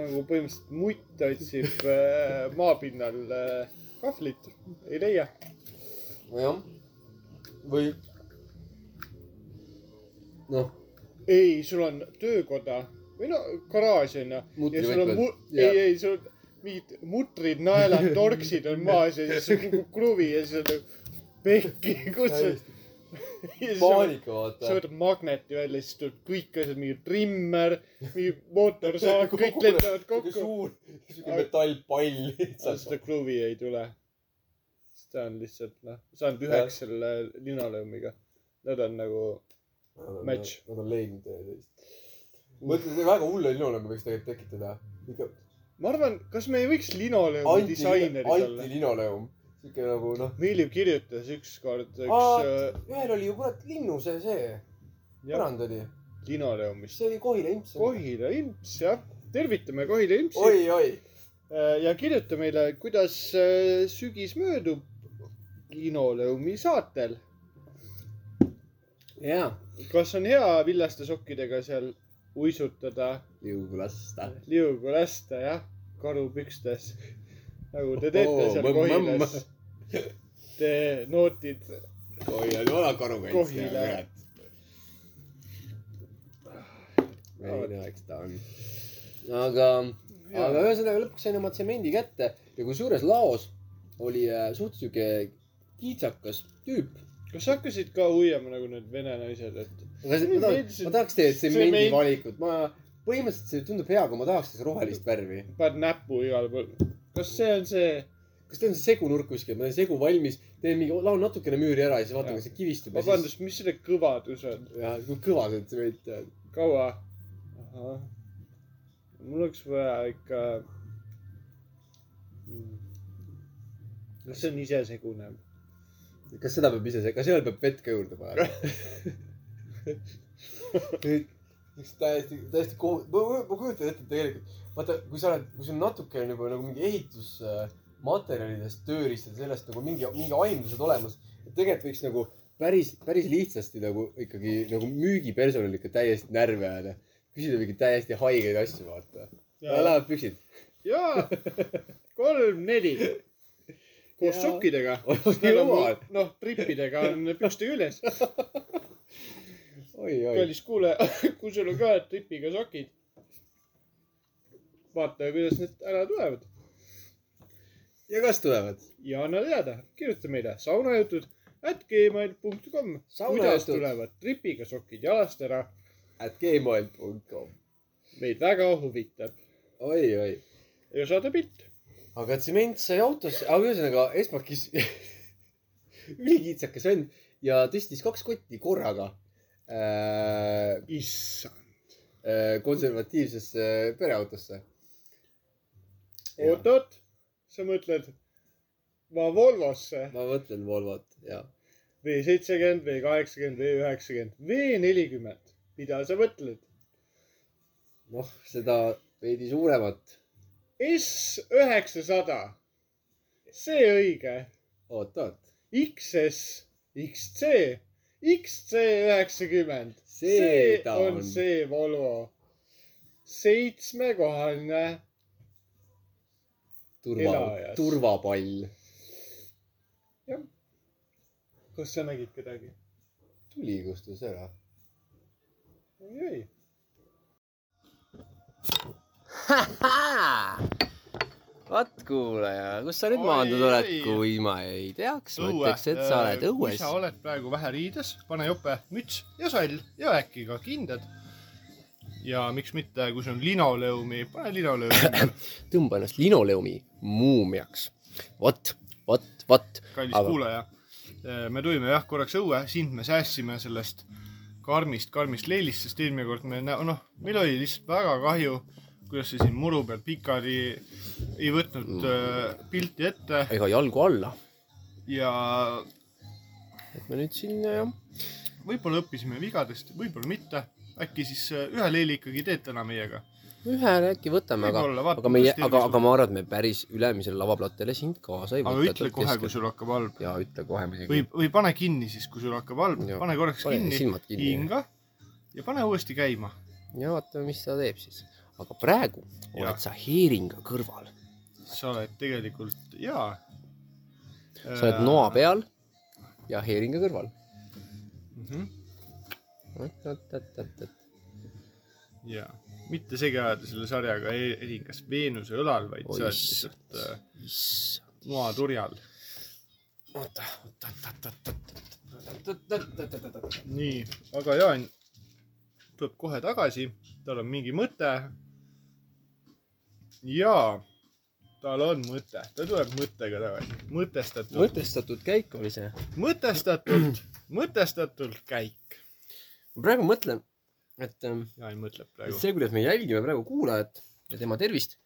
S1: nagu põhimõtteliselt mutt otsib äh, maapinnal äh, kahvlit , ei leia .
S2: nojah , või noh ,
S1: ei , sul on töökoda või no garaaž on ju . ja sul on mu- , ei ,
S2: mutrivõtmed .
S1: ei , sul on mingid mutrid , naelad , torksid on maas ja
S2: *laughs*
S1: siis sul kukub kruvi ja siis on nagu pehki kutsud . ja siis on
S2: paanika ,
S1: sa
S2: vaata .
S1: võtad magneti välja , siis tuleb kõik asjad , mingi trimmer , mingi
S2: *laughs*
S1: mootorsaag , kõik lendavad kokku .
S2: suur , siuke metallpall *laughs* lihtsalt .
S1: seda kruvi ei tule . seda on lihtsalt noh , see on üheks selle linoleumiga . Nad on nagu , Match. .
S2: Nad on leidnud teineteist . mõtlen , see väga hull linoleum võiks tegelikult tekitada . ikka
S1: ma arvan , kas me ei võiks linoleumi
S2: anti ,
S1: disainerid olla ?
S2: antilinoleum . siuke nagu noh ,
S1: Meeliv kirjutas ükskord
S2: Aa.
S1: üks äh,
S2: ühel oli ju kurat linnu see , see
S1: jah,
S2: põrand oli ,
S1: linoleumist .
S2: see oli Kohila imps .
S1: Kohila imps , jah . tervitame Kohila impsi
S2: oi , oi .
S1: Äh, ja kirjuta meile , kuidas äh, sügis möödub linoleumi saatel .
S2: jaa .
S1: kas on hea villaste sokkidega seal uisutada ,
S2: liugu lasta .
S1: liugu lasta , jah , karupükstes . nagu te teete
S2: Oo,
S1: seal
S2: mõmm,
S1: Kohilas
S2: mõmm. . *laughs*
S1: Te nootid ,
S2: Kohila oli vana karukants .
S1: Kohila. .
S2: veine aeg ta on . aga , aga ühesõnaga lõpuks sain oma tsemendi kätte ja kusjuures laos oli äh, suht siuke kiitsakas tüüp .
S1: kas sa hakkasid ka uiama nagu need vene naised , et
S2: ma
S1: Ei,
S2: tahaks
S1: meeldis- ,
S2: ma tahaks teie tsemendi
S1: tsemendi-
S2: valikut , ma põhimõtteliselt see tundub hea , kui ma tahaks siis rohelist värvi .
S1: paned näpu igale poole ? kas see on see ,
S2: kas teil on see segunurk kuskil , ma teen segu valmis , teen mingi , laon natukene müüri ära ja siis vaatan ,
S1: Jaa.
S2: kas see kivistub .
S1: vabandust , mis selle kõvadus on ?
S2: jah , kui kõva see tsement on .
S1: kaua ? mul oleks vaja ikka . kas see on isesegune ?
S2: kas seda peab ise , kas sellele peab vett ka juurde panema
S3: täiesti , täiesti kohut- , ma ma kujutan ette tegelikult , vaata , kui sa oled , kui sul natuke on juba nagu mingi ehitusmaterjalidest , tööriistad , sellest nagu mingi , mingi aimdused olemas , et tegelikult võiks nagu ,
S2: päris , päris lihtsasti nagu ikkagi nagu müügipersonal ikka täiesti närvi ajada . küsida mingeid täiesti haigeid asju , vaata . lähevad püksid .
S1: jaa , *laughs* kolm-neli . koos
S2: Jaa.
S1: sokkidega .
S2: oi ,
S1: noh , trippidega on pükste küljes .
S2: oi .
S1: kallis kuulaja , kui sul on ka tripiga sokid , vaata , kuidas need ära tulevad
S2: ja kas tulevad ?
S1: ja anna teada , kirjuta meile saunajutud at gmail punkt kom . kuidas
S2: Saunajutud.
S1: tulevad tripiga sokid jalast ära ,
S2: at gmail.com .
S1: meid väga huvitab
S2: oi , oi .
S1: ja saada pilt .
S2: aga tsement sai autosse , aga ühesõnaga *laughs* Esmakis ülikiitsakas vend ja tõstis kaks kotti korraga äh,
S1: issand ,
S2: äh, konservatiivsesse pereautosse .
S1: oot-oot , sa mõtled , ma Volvosse
S2: ma mõtlen Volvot ja
S1: V seitsekümmend , V kaheksakümmend , V üheksakümmend , V nelikümmend , mida sa mõtled ?
S2: noh , seda veidi suuremat .
S1: S üheksasada , see õige ,
S2: oot , oot .
S1: XS , XC , XC üheksakümmend .
S2: See
S1: see
S2: ta
S1: on
S2: on.
S1: see Volvo , seitsmekohaline
S2: turva
S1: Elajas. ,
S2: turvapall .
S1: kas sa nägid kedagi ?
S2: tuli kustus *laughs* ära .
S1: ei , ei .
S2: vaat kuulaja , kus sa nüüd
S1: Oi,
S2: maandunud oled ,
S1: oi.
S2: kui ma ei teaks , mõtleks , et sa oled
S1: kui
S2: õues
S1: sa . äh, oled praegu vähe riides , pane jope , müts ja sall ja äkki ka kindad . ja miks mitte , kui sul on linoleumi , pane
S2: *laughs*
S1: linoleumi ,
S2: tõmba ennast linoleumi muumiaks . vot , vot , vot .
S1: kallis
S2: Aga-
S1: Aga... kuulaja . me tulime jah korraks õue , sind me säästsime sellest karmist , karmist leelist , sest eelmine kord me , noh , meil oli lihtsalt väga kahju , kuidas sa siin muru peal pikali ei
S2: Mm.
S1: võtnud äh, pilti ette
S2: ega jalgu alla .
S1: ja
S2: et me nüüd siin jah ,
S1: võib-olla õppisime vigadest , võib-olla mitte . äkki siis äh, ühe leeli ikkagi teed täna meiega .
S2: ühe äkki võtame , aga ,
S1: Võib-olla, vaata,
S2: aga meie ,
S1: kuidas
S2: aga ,
S1: tervis-
S2: aga ma arvan , et me päris ülemisele lavaplatele sind kaasa ei
S1: aga
S2: võta .
S1: ütle kohe , kui sul hakkab halb .
S2: ja ütle kohe muidugi
S1: või , või pane kinni siis , kui sul hakkab halb
S2: Jah. .
S1: pane korraks
S2: Pane
S1: pane kinni
S2: silmad , kinni.
S1: hinga ja pane uuesti käima .
S2: ja vaatame , mis ta teeb siis . aga praegu
S1: Ja.
S2: oled sa heeringa kõrval ,
S1: sa oled tegelikult , jaa .
S2: sa oled noa peal ja heeringa kõrval .
S1: Äh, mhm, jaa , mitte segi ajada selle sarjaga e- erikas Veenuse õlal , vaid
S2: Oi,
S1: sa oled
S2: issand.
S1: lihtsalt äh, noa turjal .
S2: oota , oota , oota , oota , oota , oota , oota , oota .
S1: nii , aga Jaan tuleb kohe tagasi , tal on mingi mõte . jaa , tal on mõte , ta tuleb mõttega tagasi , mõtestatud ,
S2: mõtestatud käik oli see .
S1: mõtestatult , mõtestatult käik .
S2: ma praegu mõtlen , et ähm,
S1: Jaan mõtleb
S2: et
S1: praegu .
S2: see , kuidas me jälgime praegu kuulajat ja tema tervist ,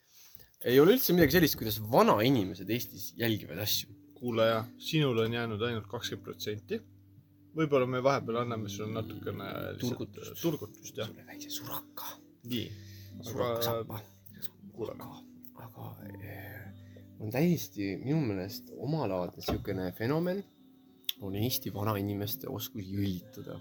S2: ei ole üldse midagi sellist , kuidas vanainimesed Eestis jälgivad asju .
S1: kuulaja , sinul on jäänud ainult kakskümmend protsenti . võib-olla me vahepeal anname sulle natukene lihtsalt- äh,
S2: Turgutust.
S1: turgutust jah ,
S2: sulle väikse suraka ,
S1: nii . aga
S2: surakasapa .
S1: kuulame .
S2: aga eh, on täiesti minu meelest omalaadne niisugune fenomen on Eesti vanainimeste oskus jõllitada .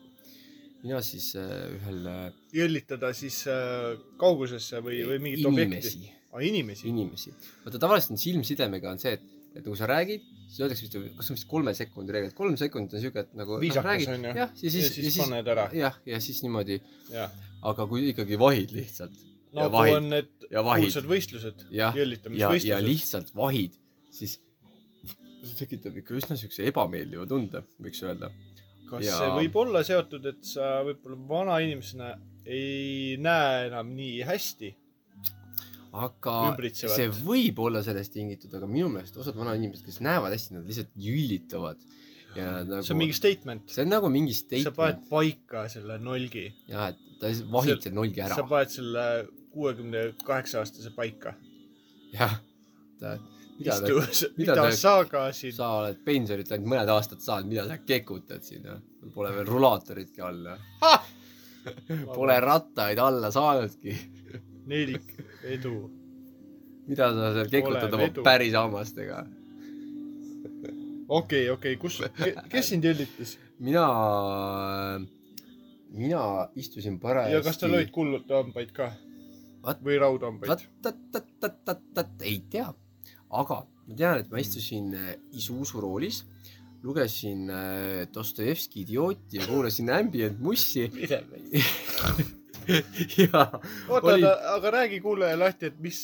S2: mina siis eh, ühel eh,
S1: jõllitada siis äh, kaugusesse või , või mingit objekti .
S2: inimesi ,
S1: aa , inimesi .
S2: inimesi , vaata tavaliselt on silmsidemega on see , et , et kui sa räägid , siis öeldakse vist , kas on vist kolme sekundi reegel , et kolm sekundit on niisugune , et nagu
S1: Viisakas on ju.
S2: jah , ja siis , ja siis, ja siis
S1: paned ära .
S2: jah , ja siis niimoodi ,
S1: jah .
S2: aga kui ikkagi vahid lihtsalt
S1: no kui
S2: vahid.
S1: Nagu on need
S2: ja vahid
S1: kuulsad võistlused ,
S2: jah , ja , ja
S1: jõllitamisvõistlused .
S2: lihtsalt vahid , siis see tekitab ikka üsna siukse ebameeldiva tunde , võiks öelda .
S1: kas
S2: ja-
S1: see võib olla seotud , et sa võib-olla vanainimesena ei näe enam nii hästi ?
S2: aga
S1: Ümbritsevat.
S2: see võib olla sellest tingitud , aga minu meelest osad vanainimesed , kes näevad hästi , nad lihtsalt jüllitavad ja nad nagu
S1: see on mingi statement .
S2: see on nagu mingi
S1: sa paned
S2: statement
S1: paika selle nolgi ,
S2: ja et ta lihtsalt vahid
S1: sa-
S2: selle nolgi ära
S1: sa paned selle kuuekümne kaheksa aastase paika .
S2: jah , ta , mida ta
S1: istu ,
S2: mida
S1: mida
S2: ta-
S1: sa ka siin ,
S2: sa oled pensionit ainult mõned aastad saanud , mida sa kekutad siin , noh . Pole veel rulaatoritki all , noh . *laughs* Pole rattaid alla saanudki
S1: nelik edu .
S2: mida sa seal kekutad
S1: Ole
S2: oma
S1: vedu.
S2: päris hammastega ?
S1: okei , okei , kus , kes sind jõllitas
S2: mina , mina istusin parajasti .
S1: ja kas tal olid ? kullud hambaid ka
S2: Vat- ?
S1: või raudhambaid ?
S2: tat-tat-tat-tat-tat , ei tea . aga ma tean , et ma istusin äh, isuusuroolis , lugesin äh, Dostojevski Idiooti ja kuulasin Ambient Mussi *laughs* ja
S1: oota
S2: Oli-
S1: oli... , aga räägi kuulaja lahti , et mis ,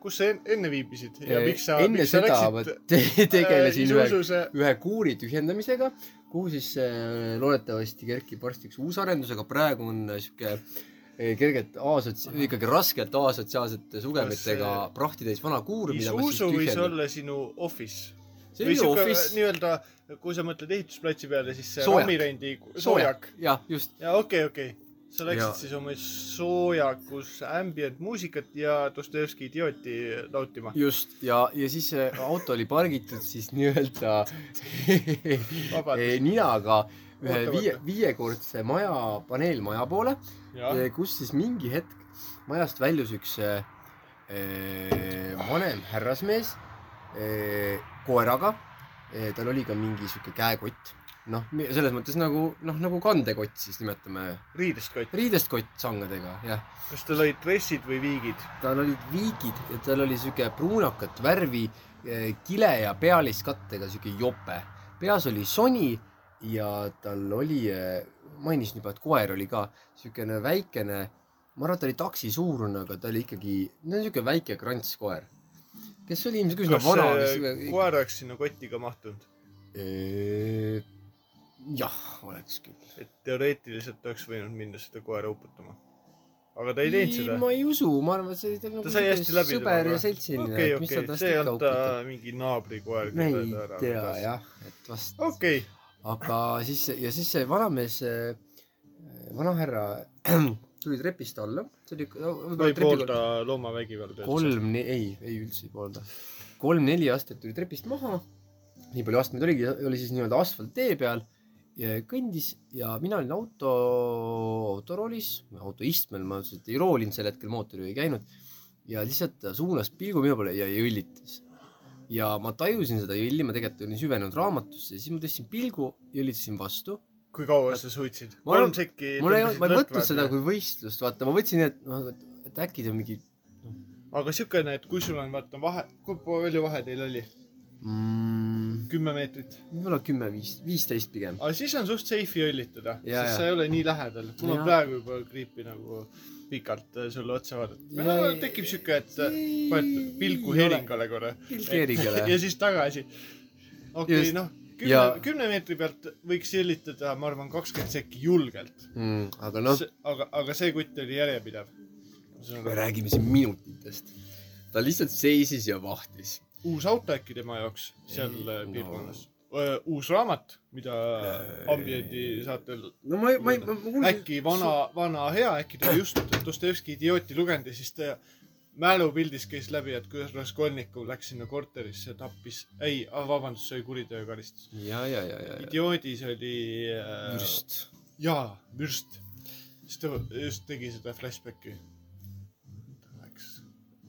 S1: kus sa en- enne viibisid ja miks sa ,
S2: äh, enne
S1: miks sa
S2: seda ma
S1: läksid äh,
S2: te- tegelesin ühe
S1: isususe
S2: ühe kuuri tühjendamisega , kuhu siis äh, loodetavasti kerkib varsti üks uus arendus , aga praegu on äh, sihuke äh, kergelt asotsia- , ikkagi raskelt asotsiaalsete sugemitega
S1: Kas,
S2: prahtitäis vana kuur , mida ma siis
S1: isusu võis
S2: tühjendan .
S1: olla sinu office .
S2: see
S1: või äh,
S2: oli
S1: siuke
S2: office ,
S1: nii-öelda , kui sa mõtled ehitusplatsi peale , siis see
S2: Soojak.
S1: rammirendi soojak .
S2: jah , just ,
S1: ja okei , okei . sa läksid
S2: Ja-
S1: ja. siis oma soojakus ambient muusikat ja Dostojevski idiooti nautima .
S2: just ja , ja siis äh, auto oli pargitud siis nii-öelda
S1: Vabandust.
S2: *laughs* ninaga ühe
S1: Oota,
S2: viie
S1: oota. ,
S2: viiekordse maja , paneelmaja poole .
S1: jah ,
S2: kus siis mingi hetk majast väljus üks äh, äh, vanem härrasmees äh, koeraga . tal oli ka mingi sihuke käekott , noh , selles mõttes nagu , noh , nagu kandekott siis nimetame ,
S1: riidest kott .
S2: riidest kott sangadega , jah .
S1: kas tal olid dressid või viigid ?
S2: tal olid viigid ja tal oli sihuke pruunakat värvi eh, kile ja pealiskattega sihuke jope . peas oli soni ja tal oli , mainisin juba , et koer oli ka siukene väikene , ma arvan , et ta oli taksi suurune , aga ta oli ikkagi , no sihuke väike krantskoer . kes oli ilmselt üsna
S1: kas
S2: vana ,
S1: see
S2: kes .
S1: koer oleks sinna kotti ka mahtunud ?
S2: eh, jah , oleks küll .
S1: et teoreetiliselt oleks võinud minna seda koera uputama . aga ta ei teinud seda .
S2: ma ei usu , ma arvan , et see oli tal nagu
S1: ta sai hästi läbi
S2: sõber ja seltsiline
S1: okei ,
S2: et mis ta
S1: okei ,
S2: tast
S1: see ei
S2: ikka
S1: olnud ta
S2: uputab .
S1: mingi naabrikoer .
S2: me ei tea . jah , et vast okay. .
S1: okei ,
S2: aga siis ja siis see vanamees , vanahärra *clears throat* tuli trepist alla , see oli
S1: ma
S2: võib-olla
S1: ei poolda loomavägivalda .
S2: kolm , ei , ei üldse ei poolda . kolm-neli astet tuli trepist maha , nii palju astmeid oligi , oli siis nii-öelda asfalttee peal ja kõndis ja mina olin auto , autoroolis , autoistmel , ma lihtsalt ei roolinud sel hetkel , mootor ju ei käinud . ja lihtsalt ta suunas pilgu minu poole ja jõllitas . ja ma tajusin seda jõlli , ma tegelikult olin süvenenud raamatusse ja siis ma tõstsin pilgu , jõllitasin vastu
S1: kui kaua sa suutsid ?
S2: Ma arvan-
S1: kolm sekki .
S2: mul ei olnud , ma ei võtnud seda kui võistlust , vaata , ma võtsin , et noh , et äkki ta mingi
S1: aga siukene , et kui sul on , vaata vahe , kui palju vahe teil oli ?
S2: mm,
S1: kümme meetrit .
S2: võib-olla kümme , viis , viisteist pigem .
S1: aga siis on suht safe jõllitada ,
S2: Jaa,
S1: sest
S2: jaa.
S1: sa ei ole nii lähedal . mul on
S2: Jaa.
S1: praegu juba kriipi nagu pikalt äh, sulle otsa vaadata
S2: Jaa, .
S1: tekib siuke , et äh, paned pilku . heeringule korra .
S2: pilk heeringule
S1: *laughs* ja . siis tagasi . okei okay, ,
S2: Just.
S1: noh , kümne
S2: Ja- ,
S1: kümne meetri pealt võiks jõllitada , ma arvan , kakskümmend sekki julgelt
S2: aga
S1: no.
S2: noh ,.
S1: aga , aga see kutt oli järjepidev .
S2: me räägime siin minutitest . ta lihtsalt seisis ja vahtis .
S1: uus auto äkki tema jaoks seal
S2: Ei,
S1: Ei,
S2: no.
S1: piirkonnas no. ? uus raamat , mida
S2: Ei.
S1: Ambiendi saatel ,
S2: no ma , ma ei , ma , ma kuulsin .
S1: äkki vana , vana hea , äkki ta just Dostojevski Idiooti lugenud ja siis ta mälupildis käis läbi , et kuidas Raskolnikov läks sinna korterisse , tappis , ei , vabandust , see oli kuriteokaristus .
S2: ja , ja , ja , ja , ja .
S1: idioodis oli äh,
S2: just .
S1: jaa , vürst . siis ta just tegi seda flashbacki . ta läks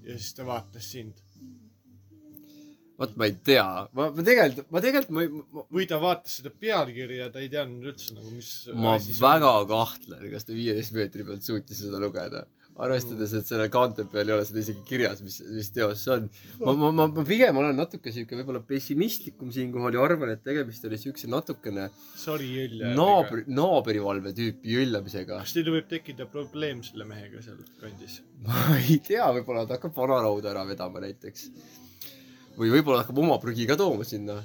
S1: ja siis ta vaatas sind
S2: vot ma ei tea , ma , ma tegelikult , ma tegelikult , ma, ei- ma ,
S1: või ta vaatas seda pealkirja , ta ei teadnud üldse nagu , mis .
S2: ma väga kahtlen , kas ta viieteist meetri pealt suutis seda lugeda . arvestades , et selle kaante peal ei ole seda isegi kirjas , mis , mis teos see on . ma , ma , ma , ma pigem olen natuke sihuke võib-olla pessimistlikum siinkohal ja arvan , et tegemist oli siukse natukene
S1: sari jõlja .
S2: naabri , naabrivalve tüüpi üllamisega .
S1: kas teil võib tekkida probleem selle mehega seal kandis ?
S2: *laughs* ma ei tea , võib-olla ta hakkab vanarauda ära vedama näiteks . või võib-olla hakkab oma prügi ka tooma sinna .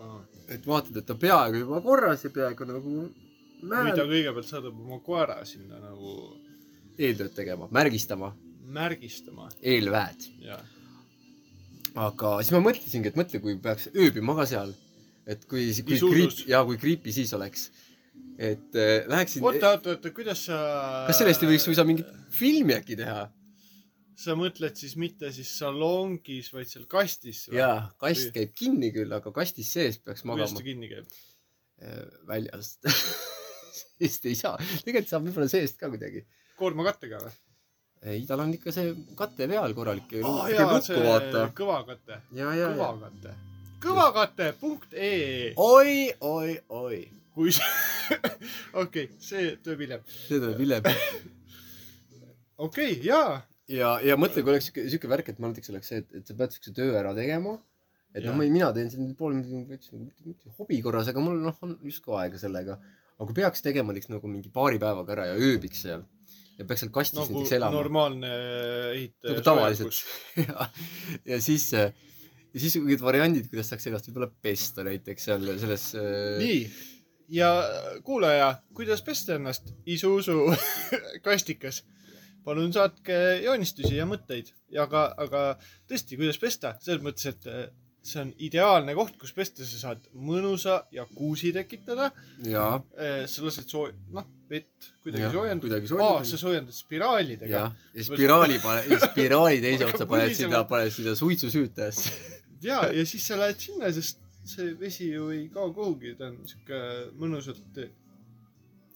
S1: või
S2: et vaatad , et ta peaaegu juba korras ja peaaegu nagu
S1: ta
S2: määr- ,
S1: kõigepealt saadab oma koera sinna nagu
S2: eeltööd tegema , märgistama ,
S1: märgistama
S2: eelväed .
S1: ja
S2: aga siis ma mõtlesingi , et mõtle , kui peaks ööbima ka seal . et kui , kui
S1: hullust.
S2: kriip , jaa , kui kriipi siis oleks . et äh, läheksin ,
S1: oota , oota , oota , kuidas sa .
S2: kas sellest ei võiks suisa mingit filmi äkki teha ?
S1: sa mõtled siis mitte siis salongis , vaid seal kastis ?
S2: jaa , kast käib kinni küll , aga kastis sees peaks
S1: kuidas
S2: magama
S1: ta . kinni käib ?
S2: äh, väljast . *laughs* sest ei saa , tegelikult saab võib-olla seest ka kuidagi .
S1: koormakattega või ?
S2: ei , tal on ikka see kate peal korralik
S1: aa
S2: oh, .
S1: jaa ,
S2: lukku see...
S1: see
S2: vaata .
S1: kõvakate ,
S2: ja , ja , ja .
S1: kõvakate , kõvakate.ee ,
S2: oi , oi , oi .
S1: kui sa , *laughs* okei , see tuleb hiljem .
S2: see tuleb hiljem .
S1: okei okay, , jaa ,
S2: ja , ja mõtle , kui oleks siuke , siuke värk , et ma näiteks oleks see , et , et sa pead siukse töö ära tegema . et
S1: Jaa.
S2: noh , mina teen siin pool minutit , mitte hobi korras , aga mul noh , on justkui aega sellega . aga kui peaks tegema näiteks nagu mingi paari päevaga ära ja ööbiks seal ja peaks seal kastis
S1: nagu
S2: näiteks elama .
S1: normaalne ehitaja .
S2: nagu tavaliselt . *laughs* ja , ja siis , ja siis mingid variandid , kuidas saaks ennast võib-olla pesta näiteks seal selles .
S1: nii , ja kuulaja , kuidas pesta ennast isuusu *laughs* kastikas ? palun saatke joonistusi ja mõtteid ja aga , aga tõesti , kuidas pesta , selles mõttes , et äh, see on ideaalne koht , kus pesta , sa saad mõnusa jakuusi tekitada ,
S2: jaa .
S1: sa lased soo- , noh , vett kuidagi soojendada .
S2: kuidagi
S1: aa , sa
S2: soojendada .
S1: soojendad spiraalidega .
S2: jah , ja spiraali pane , spiraali teise
S1: Hakkab
S2: otsa paned sinna
S1: põlisema. ,
S2: paned sinna suitsusüütajasse .
S1: ja , ja siis sa lähed sinna , sest see vesi ju ei kao kuhugi , ta on sihuke mõnusalt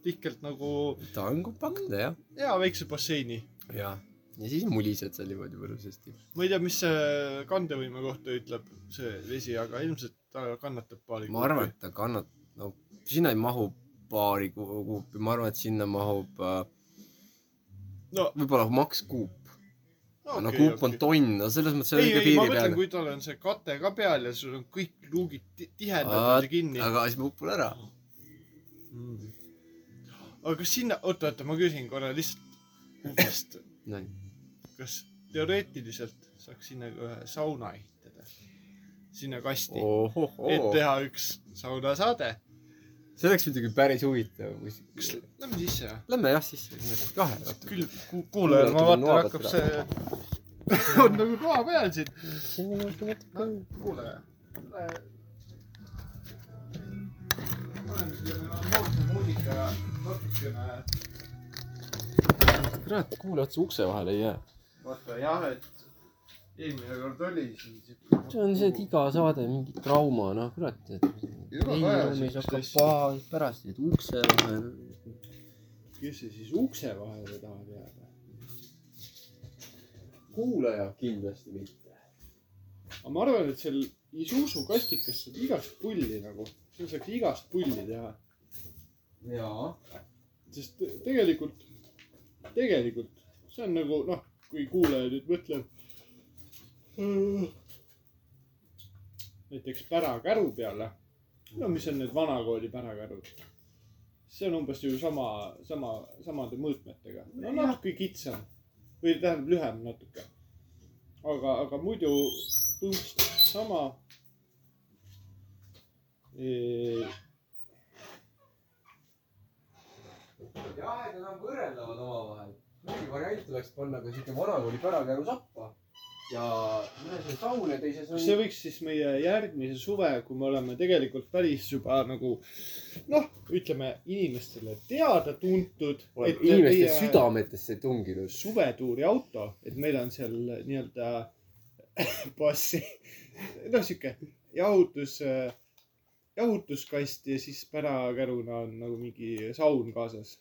S1: tihkelt nagu
S2: ta on
S1: Mm.
S2: kompaktne jah .
S1: hea väikse basseini .
S2: jaa . ja siis mulised seal niimoodi mõnusasti .
S1: ma ei tea , mis see kandevõime kohta ütleb see vesi , aga ilmselt ta kannatab paari .
S2: ma arvan ,. et ta kannat- , no sinna ei mahu paari ku- kuupi , ma arvan , et sinna mahub äh,
S1: no
S2: võib-olla maks kuup .
S1: no,
S2: no
S1: okei
S2: kuup , on tonn , no selles mõttes see on
S1: ei ,
S2: ikka
S1: ei , ma
S2: piiri
S1: mõtlen ,
S2: peal .
S1: kui tal on see kate ka peal ja sul on kõik luugid ti-
S2: Aa,
S1: tihedad ja kinni .
S2: aga siis ma upun ära .
S1: Mm. aga kas sinna , oota , oota , ma küsin korra lihtsalt , kas ,
S2: no
S1: kas teoreetiliselt saaks sinna ka ühe sauna ehitada , sinna kasti oh, , et
S4: ohohoo ,
S1: teha üks saunasaade .
S4: see oleks muidugi päris huvitav , kui
S1: kas , lähme sisse või ?
S4: lähme jah sisse , nimetame kahe õhtu .
S1: küll ku- kuulajal , ma vaatan , hakkab see , *laughs* on nagu koha peal siin . kuulaja . paneme siia melanhoolse muusika ja natukene
S4: kurat , kuule otse ukse vahele ei jää .
S1: vaata jah , et eelmine kord oli siin
S2: see on see , et iga saade mingi trauma , noh kurat , et
S1: Iga
S2: ei ruumis
S1: päev siukest
S2: hakkab
S1: asja.
S2: paha , pärast jäid ukse vahele .
S1: kes see siis ukse vahele tahab jääda ?
S2: kuulaja kindlasti mitte .
S1: aga ma arvan , et seal Isuzu kastikas saab igast pulli nagu , seal saaks igast pulli teha ,
S2: jaa .
S1: sest te- tegelikult , tegelikult see on nagu noh , kui kuulaja nüüd mõtleb . näiteks pärakäru peale . no mis on need vanakooli pärakärud ? see on umbes ju sama , sama , samade mõõtmetega , no natuke kitsam või tähendab lühem natuke . aga , aga muidu punkt sama .
S3: jah , et nad on nagu võrreldavad omavahel . mingi variant oleks panna ka siuke vanakooli pärakäru sappa ja ühes on saun ja teises on
S1: kas see võiks siis meie järgmise suve , kui me oleme tegelikult päris juba nagu noh , ütleme inimestele teada-tuntud .
S2: inimeste meie... . südametesse tunginud .
S1: suvetuuri auto , et meil on seal nii-öelda *laughs* bassi , noh , sihuke jahutus , jahutuskast ja siis pärakäruna on nagu mingi saun kaasas .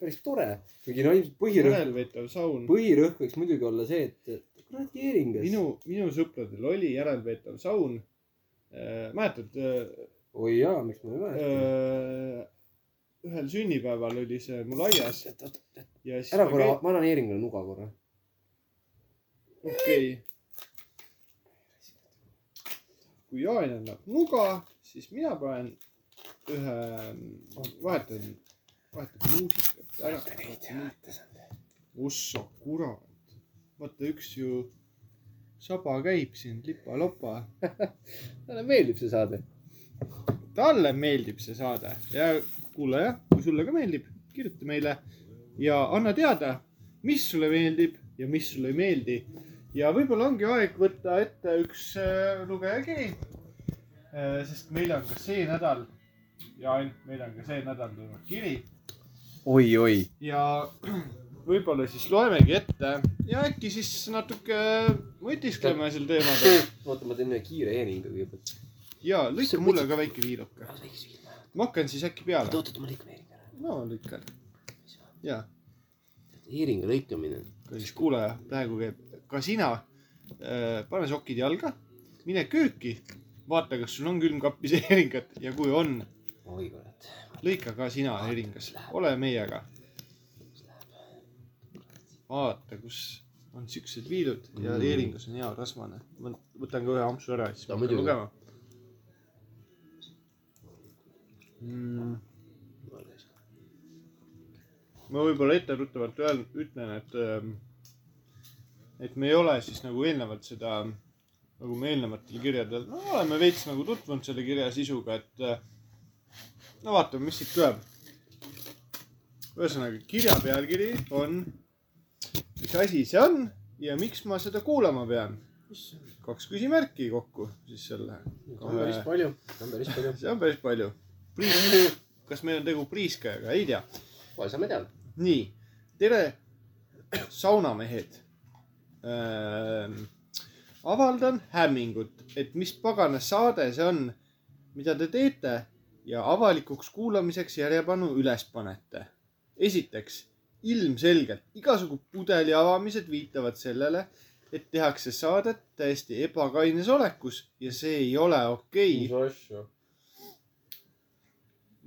S2: päris tore , kuigi no ilmselt põhirõhk ,
S1: järelveetav saun .
S2: põhirõhk võiks muidugi olla see , et kurat keeringas .
S1: minu , minu sõpradel oli järelveetav saun . mäletad , äh,
S2: oi jaa , miks ma ei mäleta .
S1: ühel sünnipäeval oli see mul aias
S2: Äh,
S1: ja siis .
S2: ära korra , ma annan Eeringule nuga korra .
S1: okei okay. . kui Jaan annab nuga , siis mina panen ühe , vahetan , vahetan muusikat ära . ossa kurat , vaata üks ju saba käib siin lipa-lopa .
S2: *laughs* talle meeldib see saade .
S1: talle meeldib see saade ja kuulaja , kui sulle ka meeldib , kirjuta meile ja anna teada , mis sulle meeldib ja mis sulle ei meeldi . ja võib-olla ongi aeg võtta ette üks äh, lugeja kiri . sest meil on ka see nädal ja ainult meil on ka see nädal tulnud kiri
S2: oi , oi .
S1: ja *clears throat* võib-olla siis loemegi ette ja äkki siis natuke mõtiskleme sel
S2: *clears throat*
S1: teemadel
S2: oota , ma teen ühe kiire Eeringa kõigepealt .
S1: ja lõika mulle ka väike viiluke . ma hakkan siis äkki peale .
S2: oota , oota , ma lõikan Eeringa ära .
S1: no lõikan . ja ,
S2: Eeringa lõikamine .
S1: kallis kuulaja , praegu käib ka sina . pane sokid jalga , mine kööki , vaata , kas sul on külmkapis heeringat ja kui on ,
S2: oi kurat .
S1: lõika ka sina heeringas , ole meiega . vaata , kus on siuksed viilud ja
S2: Mm.
S1: heeringas on hea rasvane . ma võtan ka ühe ampsu ära , siis
S2: No
S1: ma hakkan
S2: muidugi.
S1: lugema mm. . ma võib-olla etteruttavalt öel- ütlen , et , et me ei ole siis nagu eelnevalt seda , nagu me eelnevatel kirjadel , no oleme veits nagu tutvunud selle kirja sisuga , et äh, no vaatame , mis siit tuleb . ühesõnaga , kirja pealkiri on , mis asi see on ja miks ma seda kuulama pean . kaks küsimärki kokku siis selle . see
S2: palju . on päris palju .
S1: on päris palju . Priis , kas meil on tegu priiskajaga , ei tea
S2: kohe saame teada .
S1: nii , tere , saunamehed ähm, . avaldan hämmingut , et mis pagana saade see on , mida te teete ja avalikuks kuulamiseks järjepanu üles panete . esiteks , ilmselgelt igasugu pudeli avamised viitavad sellele , et tehakse saadet täiesti ebakaines olekus ja see ei ole okei okay. .
S3: asju .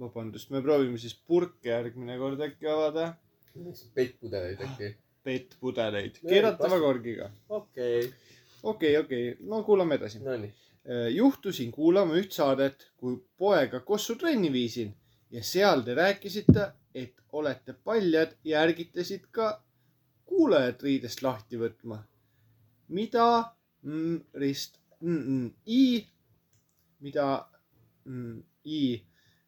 S1: vabandust , me proovime siis purke järgmine kord äkki avada
S2: pettpudeleid äkki .
S1: pettpudeleid
S3: Ei,
S1: keeratava
S3: vastu-
S1: korgiga .
S3: okei okay. ,
S1: okei , okei , no kuulame edasi .
S2: Nonii .
S1: Äh, juhtusin kuulama üht saadet , kui poega Kossu trenni viisin ja seal te rääkisite , et olete paljad ja ärgitasid ka kuulajad riidest lahti võtma . mida mm, rist mm, mm, i , mida mm, i ,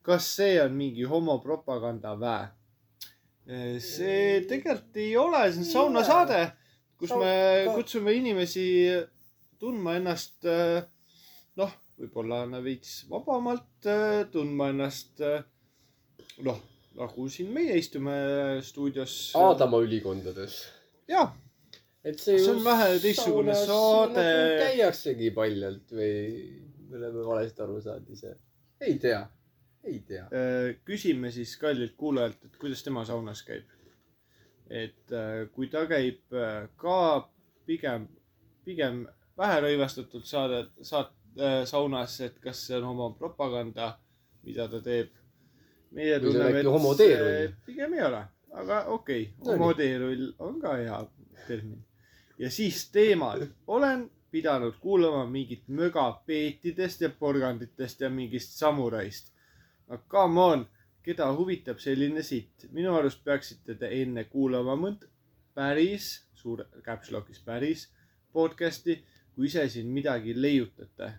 S1: kas see on mingi homopropaganda vä ? see tegelikult ei ole , see on
S3: Ei
S1: saunasaade , kus
S3: Sau-
S1: me
S3: ka-
S1: kutsume inimesi tundma ennast äh, noh , võib-olla na- veits vabamalt äh, tundma ennast äh, noh , nagu siin meie istume äh, stuudios .
S2: Aadama ülikondades .
S1: jaa ,
S2: et see, nagu
S1: See on vähe teistsugune saade.
S2: käiaksegi paljalt või me oleme valesti aru saanud ise . ei tea , ei tea .
S1: äh, küsime siis kallilt kuulajalt , et kuidas tema saunas käib . et äh, kui ta käib äh, ka pigem , pigem vähe rõivastatult saade , saat- , saunas , et kas see on oma propaganda , mida ta teeb . meie
S2: Või see on
S1: tunneme ,
S2: äkki homo teerull?
S1: see pigem ei ole , aga okei okay, ,
S2: No nii.
S1: homoteerull on ka hea termin . ja siis teemad , olen pidanud kuulama mingit möga peetidest ja porganditest ja mingist samuraist . no come on , keda huvitab selline sitt , minu arust peaksite te enne kuulama mõnd päris , suure käpslokis päris podcast'i , kui ise siin midagi leiutate .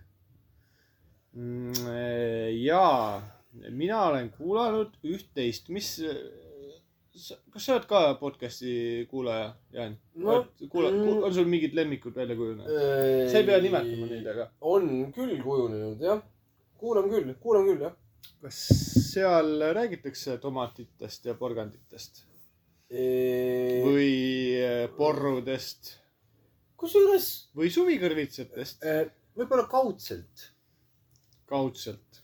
S1: jaa , mina olen kuulanud üht-teist , mis , kas sa oled ka podcast'i kuulaja , Jaan ?
S3: No,
S1: kuula ,
S3: mm.
S1: on sul mingid lemmikud välja kujunenud ? sa ei pea nimetama neid , aga
S3: on küll kujunenud jah , kuulan küll , kuulan küll jah .
S1: kas seal räägitakse tomatitest ja porganditest või äh, porrudest
S3: kusjuures
S1: või suvikõrvitsatest ?
S2: võib-olla kaudselt .
S1: kaudselt ,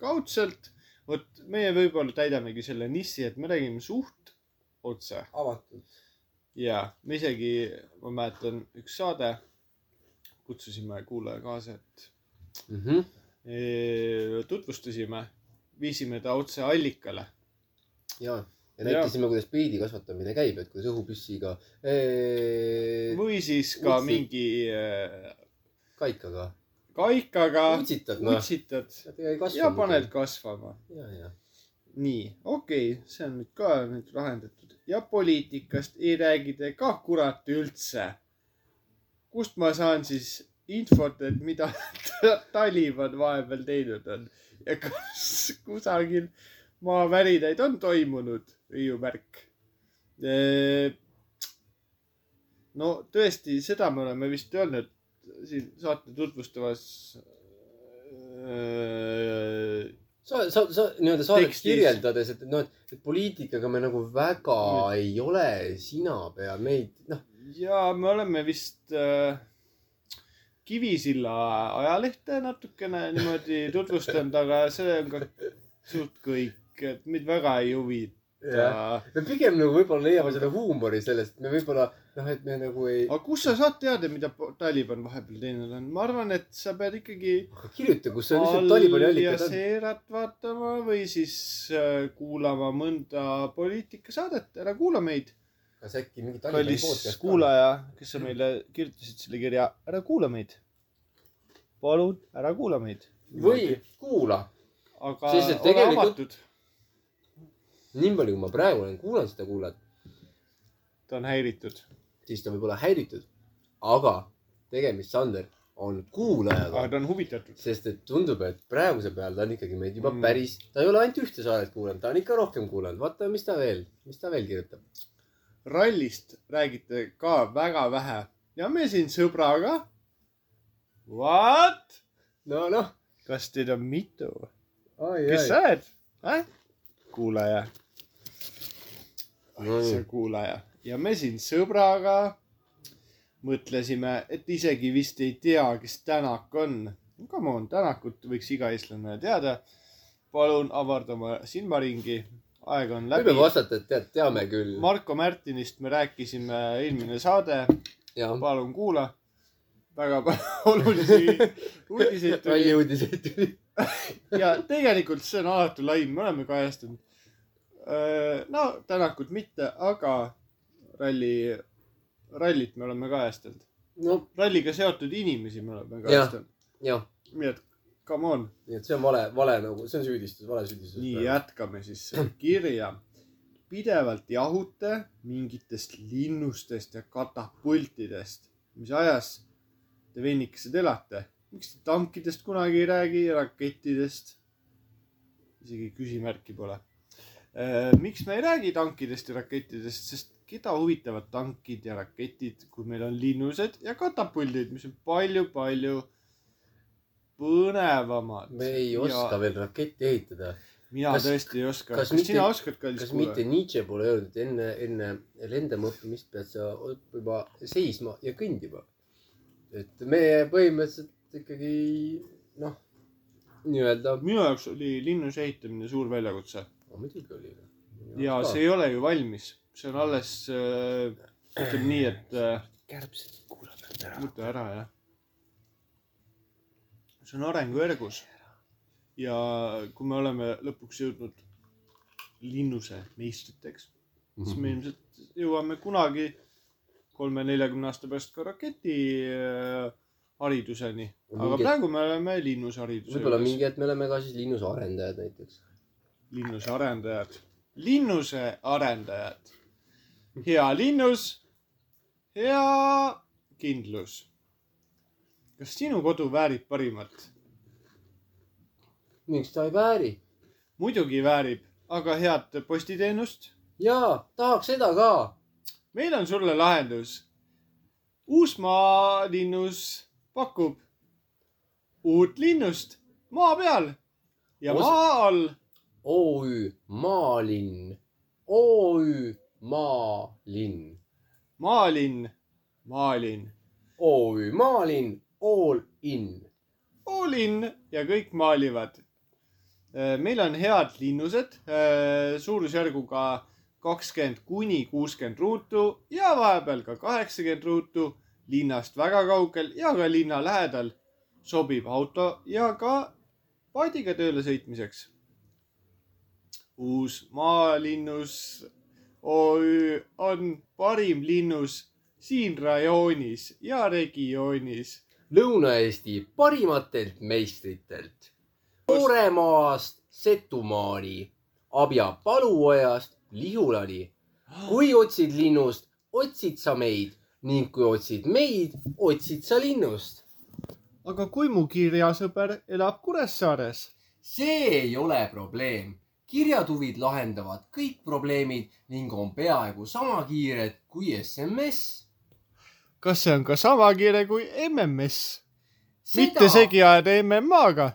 S1: kaudselt , vot meie võib-olla täidamegi selle niši , et me räägime suht otse
S3: avatud .
S1: ja me isegi , ma mäletan , üks saade , kutsusime kuulaja kaasa , et Mhm. eh, tutvustasime , viisime ta otse allikale .
S2: ja , ja
S1: Jaa.
S2: näitasime , kuidas pliidi kasvatamine käib , et kuidas õhupüssiga ,
S1: või siis ka
S2: Utsi-
S1: mingi eh,
S2: kaikaga
S1: kaikaga
S2: utsitad noh .
S1: utsitad
S2: ja
S1: ja paned . kasvama .
S2: ja , ja .
S1: nii , okei okay, , see on nüüd ka nüüd lahendatud ja poliitikast ei räägi te ka kurat üldse . kust ma saan siis infot , et mida *laughs* ta- Taliban vahepeal teinud on ja kas kusagil maavärinaid on toimunud , hüüumärk . no tõesti , seda me oleme vist öelnud siin saate tutvustavas öö,
S2: sa , sa , sa nii-öelda saadet
S1: Tekstis.
S2: kirjeldades , et noh , et poliitikaga me nagu väga
S1: Mm.
S2: ei ole sina peal , meid noh ,
S1: ja me oleme vist äh, Kivisilla ajalehte natukene
S2: *laughs*
S1: niimoodi tutvustanud , aga see on ka suht kõik , et meid väga ei huvita
S2: jah . me pigem nagu võib-olla leiame selle huumori sellest , me võib-olla noh , et me nagu ei
S1: aga kust sa saad teada , mida po- Taliban vahepeal teinud on ? ma arvan , et sa pead ikkagi
S2: kirjuta , kus see lihtsalt Talibani allikad on .
S1: Al-Jazeerat vaatama või siis äh, kuulama mõnda poliitikasaadet , ära kuula meid .
S2: kas äkki mingi Talibani
S1: kallis
S2: podcast ka ?
S1: kuulaja , kes sa meile kirjutasid selle kirja , ära kuula meid . palun ära kuula meid .
S2: või kuula ,
S1: aga
S2: Sest et
S1: ole
S2: tegelikult-
S1: avatud ,
S2: nii palju , kui ma praegu olen kuulanud seda kuulajat ,
S1: ta on häiritud .
S2: siis ta võib olla häiritud . aga tegemist , Sander , on kuulajaga
S1: aga , ta on huvitatud .
S2: sest et tundub , et praeguse peal ta on ikkagi meid juba
S1: Mm.
S2: mm. päris , ta ei ole ainult ühte saadet kuulanud , ta on ikka rohkem kuulanud , vaata , mis ta veel , mis ta veel kirjutab .
S1: rallist räägite ka väga vähe ja me siin sõbraga . What ?
S2: no noh ,
S1: kas teid on mitu ?
S2: ai
S1: kes
S2: ai .
S1: sa oled eh? ? kuulaja .
S2: No
S1: see
S2: nii.
S1: kuulaja ja me siin sõbraga mõtlesime , et isegi vist ei tea , kes Tänak on . Come on , Tänakut võiks iga eestlane teada . palun avarda oma silmaringi , aeg on läbi
S2: võime . vastata , et tead , teame küll Ma... .
S1: Marko Märtinist me rääkisime eelmine saade ,
S2: jah ,
S1: palun kuula . väga *laughs* palju olulisi uudiseid tuli
S2: ralli uudiseid tuli .
S1: ja tegelikult see on alatu laim , me oleme kajastanud . no Tänakut mitte , aga ralli , rallit me oleme kajastanud .
S2: no
S1: ralliga seotud inimesi me oleme
S2: Jah.
S1: kajastanud .
S2: jah ,
S1: nii et come on ,
S2: nii et see on vale , vale nagu , see on süüdistus , vale süüdistus .
S1: nii . jätkame siis selle kirja . pidevalt jahute mingitest linnustest ja katapultidest . mis ajas te vennikesed elate , miks te tankidest kunagi ei räägi , rakettidest ? isegi küsimärki pole . miks me ei räägi tankidest ja rakettidest , sest keda huvitavad tankid ja raketid , kui meil on linnused ja katapuldid , mis on palju-palju põnevamad .
S2: me ei oska ja... veel raketti ehitada .
S1: mina
S2: Kas-
S1: kas, tõesti ei oska .
S2: kas
S1: kas,
S2: mitte-
S1: kas sina oskad , kallis
S2: kas mitte
S1: kuulaja ?
S2: Nietzsche pole öelnud , et enne , enne lendama õppimist pead sa õppima seisma ja kõndima . et me põhimõtteliselt ikkagi noh , nii-öelda .
S1: minu jaoks oli linnuse ehitamine suur väljakutse
S2: muidugi oli .
S1: ja see . ei ole ju valmis , see on alles äh, , ütleme nii , et äh,
S2: kärbsed kuulavad ära .
S1: muuta ära jah . see on arengujärgus . ja kui me oleme lõpuks jõudnud linnuse meistriteks ,
S2: Mhm.
S1: siis me ilmselt jõuame kunagi kolme-neljakümne aasta pärast ka raketi äh, hariduseni , aga
S2: Mingi-
S1: praegu me oleme linnuse hariduse
S2: võib-olla mingi hetk me oleme ka siis linnuse arendajad näiteks .
S1: linnuse arendajad , linnuse arendajad . hea linnus , hea kindlus . kas sinu kodu väärib parimat ?
S2: miks ta ei vääri ?
S1: muidugi väärib , aga head postiteenust .
S2: jaa , tahaks seda ka .
S1: meil on sulle lahendus . Uusmaa linnus pakub uut linnust maa peal ja
S2: Os-
S1: Os maa all
S2: OÜ Maalinn . OÜ Maalinn .
S1: maalinn , maalinn ,
S2: OÜ Maalinn , all in .
S1: poolinn ja kõik maalivad . meil on head linnused äh, suurusjärguga kakskümmend kuni kuuskümmend ruutu ja vahepeal ka kaheksakümmend ruutu linnast väga kaugel ja ka linna lähedal sobib auto ja ka paadiga tööle sõitmiseks . uus maalinnus OÜ on parim linnus siin rajoonis ja regioonis
S2: Lõuna-Eesti parimatelt meistritelt . Tooremaast Setumaani , Abja-Paluojast Lihulani . kui otsid linnust , otsid sa meid ning kui otsid meid , otsid sa linnust .
S1: aga kui mu kirjasõber elab Kuressaares ?
S2: see ei ole probleem . kirjatuvid lahendavad kõik probleemid ning on peaaegu sama kiired kui SMS .
S1: kas see on ka sama kiire kui MMS ? mitte segi ajada MMA-ga .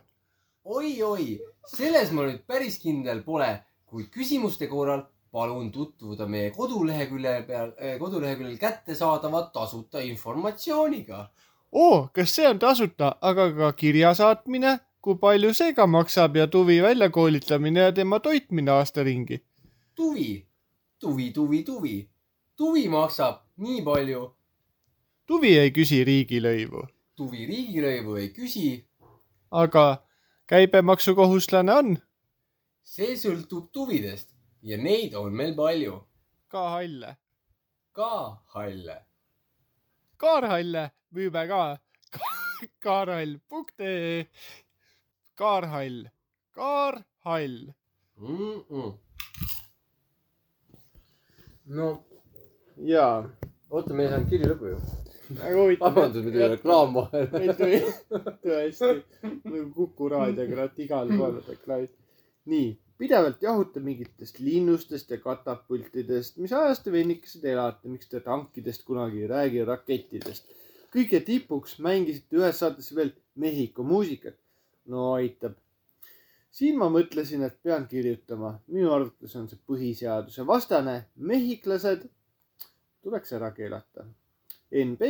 S2: oi-oi , selles ma nüüd päris kindel pole , kuid küsimuste korral palun tutvuda meie kodulehekülje peal , koduleheküljel kättesaadava tasuta informatsiooniga .
S1: oo , Oh, kas see on tasuta , aga ka kirja saatmine , kui palju see ka maksab ja tuvi väljakoolitamine ja tema toitmine aasta ringi ?
S2: tuvi , tuvi , tuvi , tuvi , tuvi maksab nii palju ,
S1: tuvi ei küsi riigilõivu ,
S2: tuvi riigilõivu ei küsi ,
S1: aga käibemaksukohuslane on
S2: see sõltub tuvidest ja neid on meil palju ,
S1: ka halle .
S2: ka halle .
S1: Kaarhalle müüme ka . kaarhall.ee , kaarhall , kaarhall
S2: Mm -mm. no
S1: jaa ,
S2: oota , me ei saanud kirja lõppu ju .
S1: väga huvitav .
S2: vabandust , me teeme . reklaam vahele .
S1: tõesti , Kuku raadioga olete igal pool reklaamid . nii , pidevalt jahute mingitest linnustest ja katapultidest , mis ajas te vennikesed elate , miks te tankidest kunagi ei räägi , rakettidest . kõige tipuks mängisite ühes saates veel Mehhiko muusikat . no aitab . siin ma mõtlesin , et pean kirjutama , minu arvates on see põhiseaduse vastane , mehhiklased tuleks ära keelata . NB ,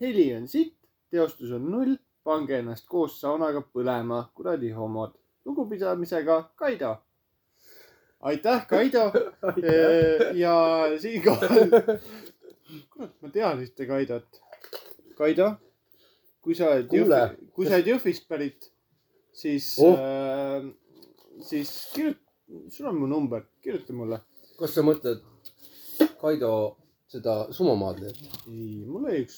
S1: heli on sitt , teostus on null , pange ennast koos saunaga põlema , kuradi homod . lugupidamisega , Kaido . aitäh ,
S2: *laughs*
S1: Kaido . ja siinkohal , kurat , ma tean ühte Kaidot . Kaido , kui sa oled
S2: Kuule. ,
S1: kui sa oled Jõhvist pärit , siis
S2: Oh.
S1: oh. , äh, siis kirjuta , sul on mu number , kirjuta mulle .
S2: *laughs* kas sa mõtled Kaido seda sumomaad nüüd ?
S1: ei , mul oli üks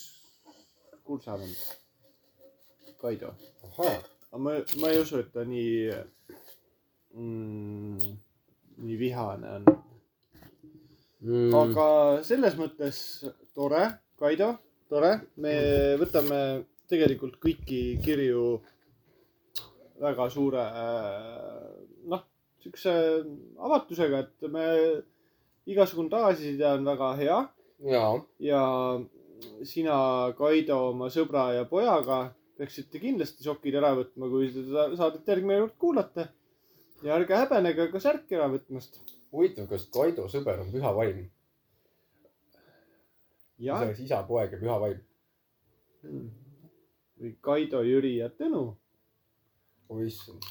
S1: kursavend , Kaido .
S2: ahhaa ,
S1: aga ma , ma ei usu , et ta nii mm, , nii vihane on mm. .
S2: aga Mm.
S1: aga selles mõttes tore , Kaido , tore , me võtame tegelikult kõiki kirju väga suure äh, noh , siukse avatusega , et me igasugune tagasiside on väga hea
S2: jaa ,
S1: ja sina , Kaido oma sõbra ja pojaga peaksite kindlasti sokid ära võtma , kui seda saadet järgmine kord kuulate . ja ärge häbenege ka särki ära võtmast .
S2: huvitav , kas Kaido sõber on püha vaim ? see
S1: jah ,
S2: oleks isa , poeg ja püha vaim .
S1: või Kaido , Jüri ja Tõnu .
S2: oh issand .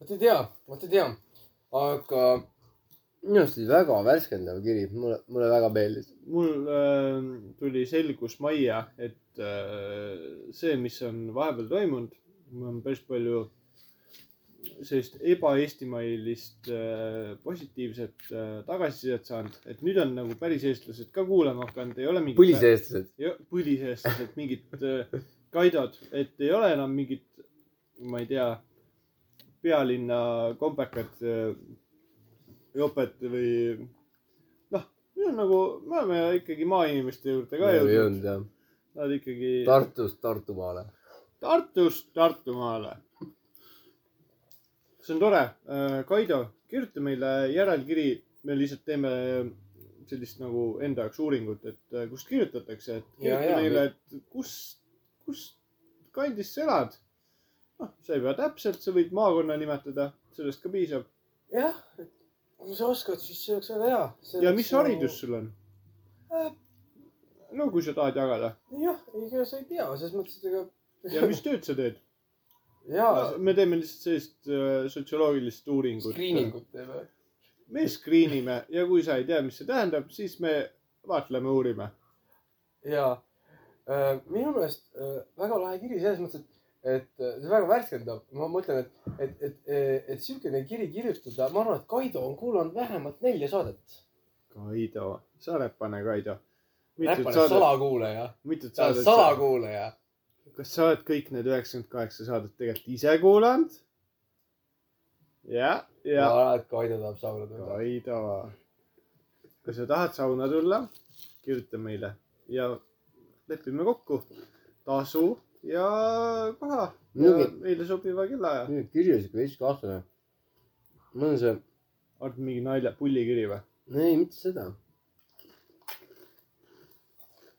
S3: vot ei tea , vot ei tea .
S2: aga minu arust oli väga värskendav kiri , mulle , mulle väga meeldis .
S1: mul äh, tuli selgus majja , et äh, see , mis on vahepeal toimunud , mul on päris palju sellist ebaeestimailist äh, positiivset äh, tagasisidet saanud , et nüüd on nagu päris eestlased ka kuulama hakanud , ei ole mingit .
S2: põliseestlased .
S1: põliseestlased , mingit äh, kaidod , et ei ole enam mingit , ma ei tea , pealinna kombekat äh, jopet või noh , meil on nagu , me oleme ikkagi maainimeste juurde ka jõudnud ,
S2: jõudnud jah .
S1: nad ikkagi
S2: Tartust Tartumaale .
S1: Tartust Tartumaale . see on tore . Kaido , kirjuta meile järelkiri , me lihtsalt teeme sellist nagu enda jaoks uuringut , et äh, kust kirjutatakse , et
S2: Ja,
S1: kirjuta
S2: ja,
S1: meile , et kus , kus kandis sa elad . noh , sa ei pea täpselt , sa võid maakonna nimetada , sellest ka piisab .
S3: jah , kui sa oskad , siis see oleks nagu- väga hea .
S1: ja mis haridus ? sul on ? no kui sa tahad jagada
S3: jah , ega sa ei tea , selles mõttes , et ega .
S1: ja mis tööd sa teed ?
S3: *laughs* jaa ,
S1: me teeme lihtsalt sellist äh, sotsioloogilist uuringut .
S3: screening ut teeme .
S1: me screen ime ja kui sa ei tea , mis see tähendab , siis me vaatleme , uurime .
S3: jaa . minu meelest äh, väga lahe kiri selles mõttes , et , et äh, see on väga värskendav . ma mõtlen , et , et , et , et, et siukene kiri kirjutada , ma arvan , et Kaido on kuulanud vähemalt nelja saadet .
S1: Kaido , sa räpane Kaido . mitut
S3: räpane
S1: saadet ,
S3: salakuulaja .
S1: mitut
S3: ta on
S1: saadet sa ,
S3: salakuulaja .
S1: kas sa oled kõik need üheksakümmend kaheksa saadet tegelikult ise kuulanud ? ja ,
S3: ma
S1: ja
S3: arvan , et Kaido tahab sauna tulla .
S1: Kaido , kui sa tahad sauna tulla , kirjuta meile ja lepime kokku tasu ja koha ja
S2: Muidugi.
S1: meile sobiva kellaaja .
S2: nüüd kirjas ikka veits kahtlane . mul on see ,
S1: oled mingi nalja , pullikiri või ?
S2: ei mitte seda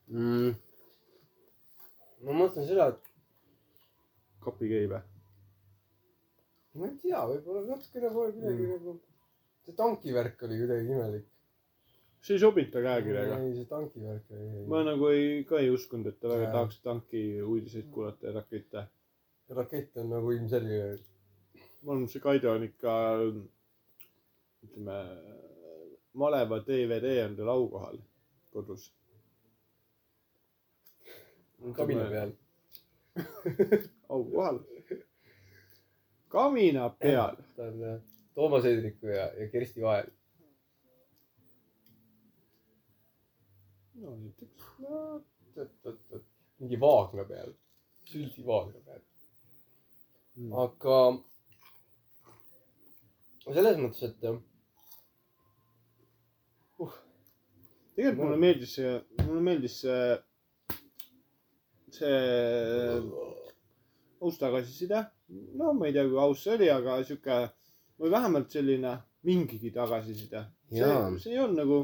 S2: mm. .
S3: ma mõtlen seda , et
S1: kapikiri või ?
S3: ma ei tea , võib-olla natukene pole kuidagi
S1: Mm.
S3: nagu . see tankivärk oli kuidagi imelik .
S1: see ei sobinud ta käekirjaga .
S3: ei , see tankivärk oli
S1: ma
S3: imelik .
S1: nagu ei , ka ei uskunud , et ta väga
S3: Jaa.
S1: tahaks tanki uudiseid kuulata ja rakette .
S3: rakett on nagu ilmselge .
S1: ma arvan , see Kaido on ikka , ütleme , maleva DVD on tal aukohal kodus .
S3: kabina peal .
S1: aukohal . kamina peal .
S3: ta on äh, Toomas Hendriku ja , ja Kersti vahel .
S1: no näiteks , no
S3: mingi vaagna peal , süldi vaagna peal .
S1: Mm.
S3: aga selles mõttes , et äh,
S1: tegelikult mulle meeldis see , mulle meeldis see , see aus tagasiside . no ma ei tea , kui aus see oli , aga sihuke või vähemalt selline mingigi tagasiside . see
S2: Jaa. ,
S1: see on nagu ,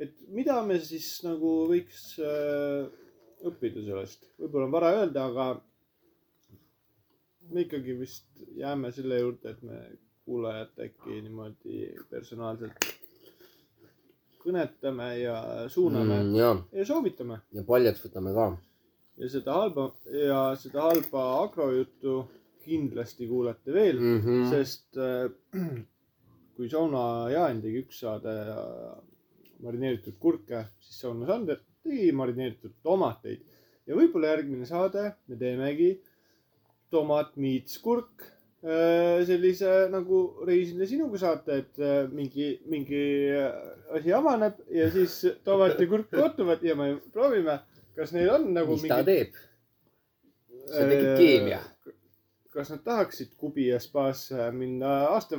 S1: et mida me siis nagu võiks äh, õppida sellest , võib-olla on vara öelda , aga me ikkagi vist jääme selle juurde , et me kuulajat äkki niimoodi personaalselt kõnetame ja suuname mm.
S2: mm, . ja ,
S1: ja soovitame
S2: ja paljaks võtame ka .
S1: ja seda halba ja seda halba agrojuttu kindlasti kuulete veel mm. ,
S2: Mm -hmm.
S1: sest äh, *clears throat* kui sauna Jaan tegi üks saade äh, marineeritud kurke , siis sauna Sander tegi marineeritud tomateid ja võib-olla järgmine saade me teemegi tomat meets kurk äh, sellise nagu reisile sinuga saate , et äh, mingi , mingi äh, asi avaneb ja siis tomat ja
S2: *laughs*
S1: kurk kohtuvad ja me proovime , kas neil on nagu
S2: mis ta
S1: mingi Äh,
S2: teeb ? see on tegelikult keemia. .
S1: kas nad tahaksid Kubi ja spaasse minna aasta ,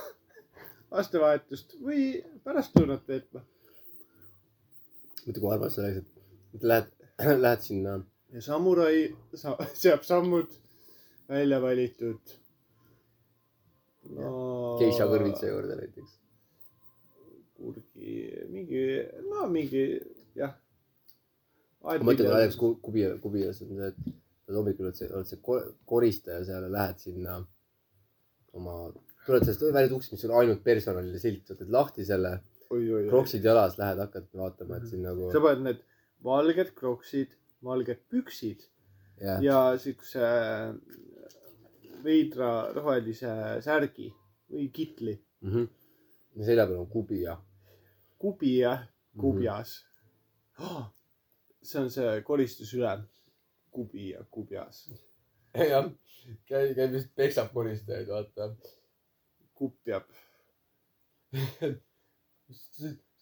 S1: *laughs* aastavahetust või pärast lõunat veetma ?
S2: mõtle kui armas see oleks , et et lähed , lähed *clears throat* sinna .
S1: ja samurai sa, *laughs* seab sammud välja valitud no, .
S2: geisha kõrvitsa . juurde näiteks .
S1: kurgi , mingi , no mingi , jah .
S2: ma mõtlen , et näiteks ku- , kubi , kubilas on see , et sa hommikul oled see , oled see ko- koristaja seal ja lähed sinna oma , tuled sellest välisest uksest , mis on ainult personalile silt , võtad lahti selle ,
S1: oi-oi-oi ,
S2: kroksid jalas , lähed hakkad vaatama ,
S3: Mhm.
S2: et siin nagu
S1: mhm. sa paned need valged kroksid , valged püksid
S2: jah ,
S1: ja siukse äh, veidra rohelise särgi või kitli .
S2: selja peal on kubi ja .
S1: kubi jah , kubjas
S3: Mhm.
S1: mm . -hmm. see on see koristusülem , kubi ja kubjas ,
S3: *laughs* jah , käib , käib vist peksab koristajaid , vaata . *laughs*
S1: kupjab .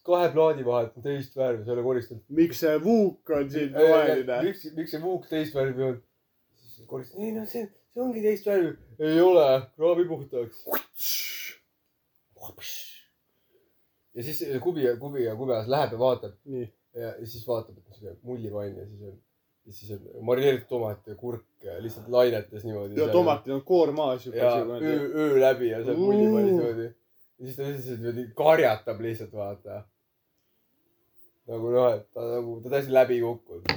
S3: kahe plaadi vahelt on teist värvi , sa ei ole koristanud .
S1: miks see vuuk on siin roheline ?
S3: miks , miks see muuk teist värvi on ? koristan , ei no see , see ongi teist värvi . ei ole , kraabi puhtaks . ja siis kubi , kubi ja kubjas läheb ja vaatab
S1: nii ,
S3: ja, ja siis vaatab , et mis see mullivann ja siis on , ja siis on marineeritud tomat ja kurk ja lihtsalt lainetes niimoodi .
S1: ja tomatil on koor maas
S3: ja
S1: juba .
S3: öö , öö läbi ja seal
S1: Uu.
S3: mullipannis niimoodi . ja siis ta lihtsalt niimoodi karjatab lihtsalt vaata . nagu noh , et ta nagu , ta täiesti läbi kukkunud .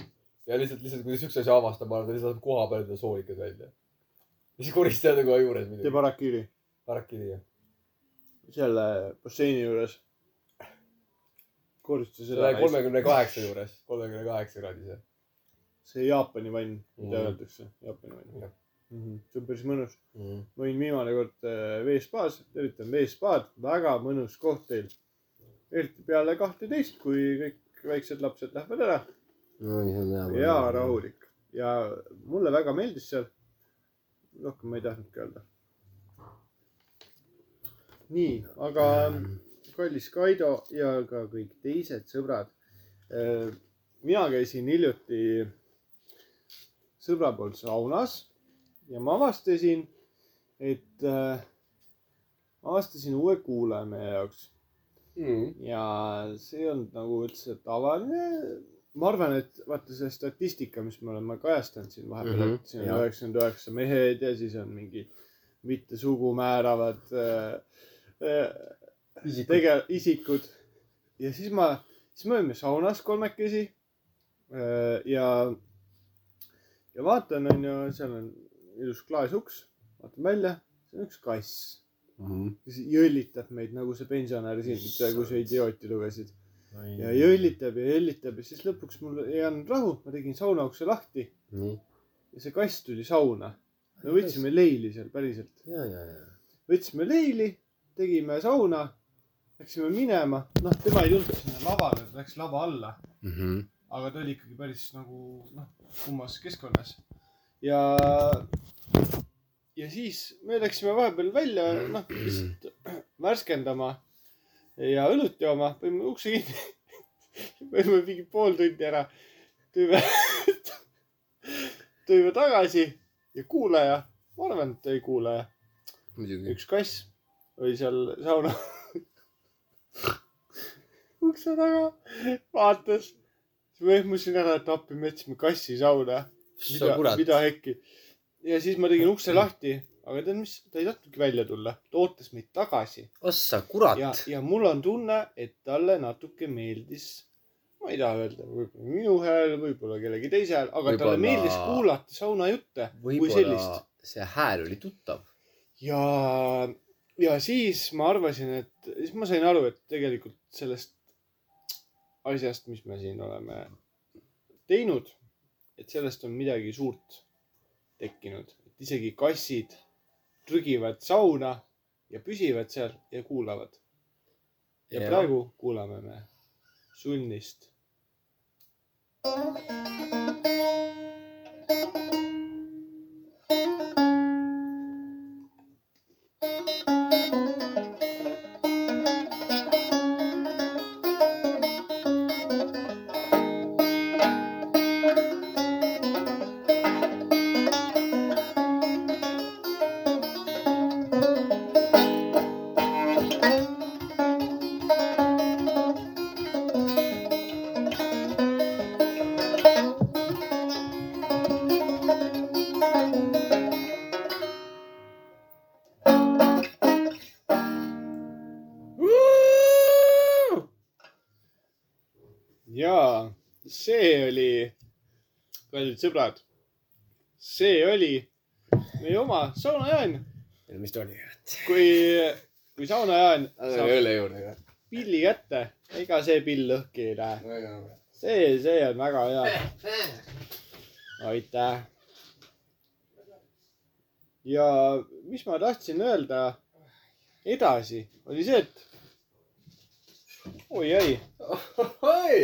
S3: ja lihtsalt , lihtsalt kui ta siukse asja avastab , ma arvan , ta lihtsalt koha peal enda soolikad välja . ja siis koristajad on kohe juures
S1: teeb
S3: muidugi .
S1: harakiri
S3: Harakiri jah .
S1: selle basseini juures . koristusülem .
S3: kolmekümne kaheksa juures , kolmekümne kaheksa kraadis jah .
S1: see Jaapani vann , mida
S3: Mhm.
S1: öeldakse , Jaapani vann
S3: Jah.
S1: mm . -hmm. see on päris mõnus . ma olin viimane kord äh, veespaas , tervitan veespaad , väga mõnus koht teil . eriti peale kahteteist , kui kõik väiksed lapsed lähevad ära ja . rahulik ja mulle väga meeldis seal . rohkem ma ei tahtnudki öelda . nii , aga ähm, kallis Kaido ja ka kõik teised sõbrad . mina käisin hiljuti sõbra poolt saunas ja ma avastasin , et äh, avastasin uue kuulaja meie jaoks
S2: Mm.
S1: ja see ei olnud nagu üldse tavaline . ma arvan , et vaata see statistika , mis me oleme kajastanud siin vahepeal mm ,
S2: Mhm,
S1: -hmm, et siin
S2: jah.
S1: on üheksakümmend üheksa mehed ja siis on mingi mitte sugu määravad äh, äh, tege- , isikud . ja siis ma , siis me olime saunas kolmekesi äh, ja , ja vaatan , onju , seal on ilus klaasuks , vaatan välja , see on üks kass
S2: Mhm.
S1: kes jõllitab meid nagu see pensionär siin , kui sa idiooti lugesid . ja jõllitab ja jõllitab ja siis lõpuks mul ei andnud rahu , ma tegin saunaukse lahti
S2: nii ,
S1: ja see kass tuli sauna . me võtsime leili seal päriselt ,
S2: ja , ja , ja .
S1: võtsime leili , tegime sauna , läksime minema , noh , tema ei tulnud sinna lavale , ta läks lava alla ,
S2: Mhm.
S1: aga ta oli ikkagi päris nagu noh , kummas keskkonnas ja ja siis me läksime vahepeal välja , noh , lihtsalt värskendama ja õlut jooma , panime ukse kinni . *laughs* panime mingi pool tundi ära , *laughs* tulime , tulime tagasi ja kuulaja , ma arvan , et ta oli kuulaja ,
S2: muidugi .
S1: üks kass oli seal sauna *laughs* ukse taga , vaatas , siis ma ehmusin ära , et appi , me jätsime kassi sauna
S2: sa
S1: mida ,
S2: kurat .
S1: mida äkki . ja siis ma tegin ukse lahti , aga tead mis , ta ei tahtnudki välja tulla , ta ootas meid tagasi
S2: ossa kurat .
S1: ja , ja mul on tunne , et talle natuke meeldis , ma ei taha öelda , võib-olla minu hääl , võib-olla kellegi teise hääl , aga
S2: Võib-olla-
S1: talle meeldis kuulata saunajutte kui
S2: võib-olla
S1: sellist .
S2: see hääl oli tuttav .
S1: ja , ja siis ma arvasin , et siis ma sain aru , et tegelikult sellest asjast , mis me siin oleme teinud , et sellest on midagi suurt tekkinud , et isegi kassid trügivad sauna ja püsivad seal ja kuulavad . ja
S2: Jaa.
S1: praegu kuulame me sunnist .
S5: Thank
S1: jaa , see oli , kallid sõbrad , see oli meie oma saunajaan ,
S2: mis ta oli ?
S1: kui , kui saunajaan saab
S2: õlle juurde ka .
S1: pilli kätte , ega see pill lõhki ei lähe . see , see on väga hea . aitäh . ja mis ma tahtsin öelda edasi , oli see , et oi-oi ,
S2: oi ,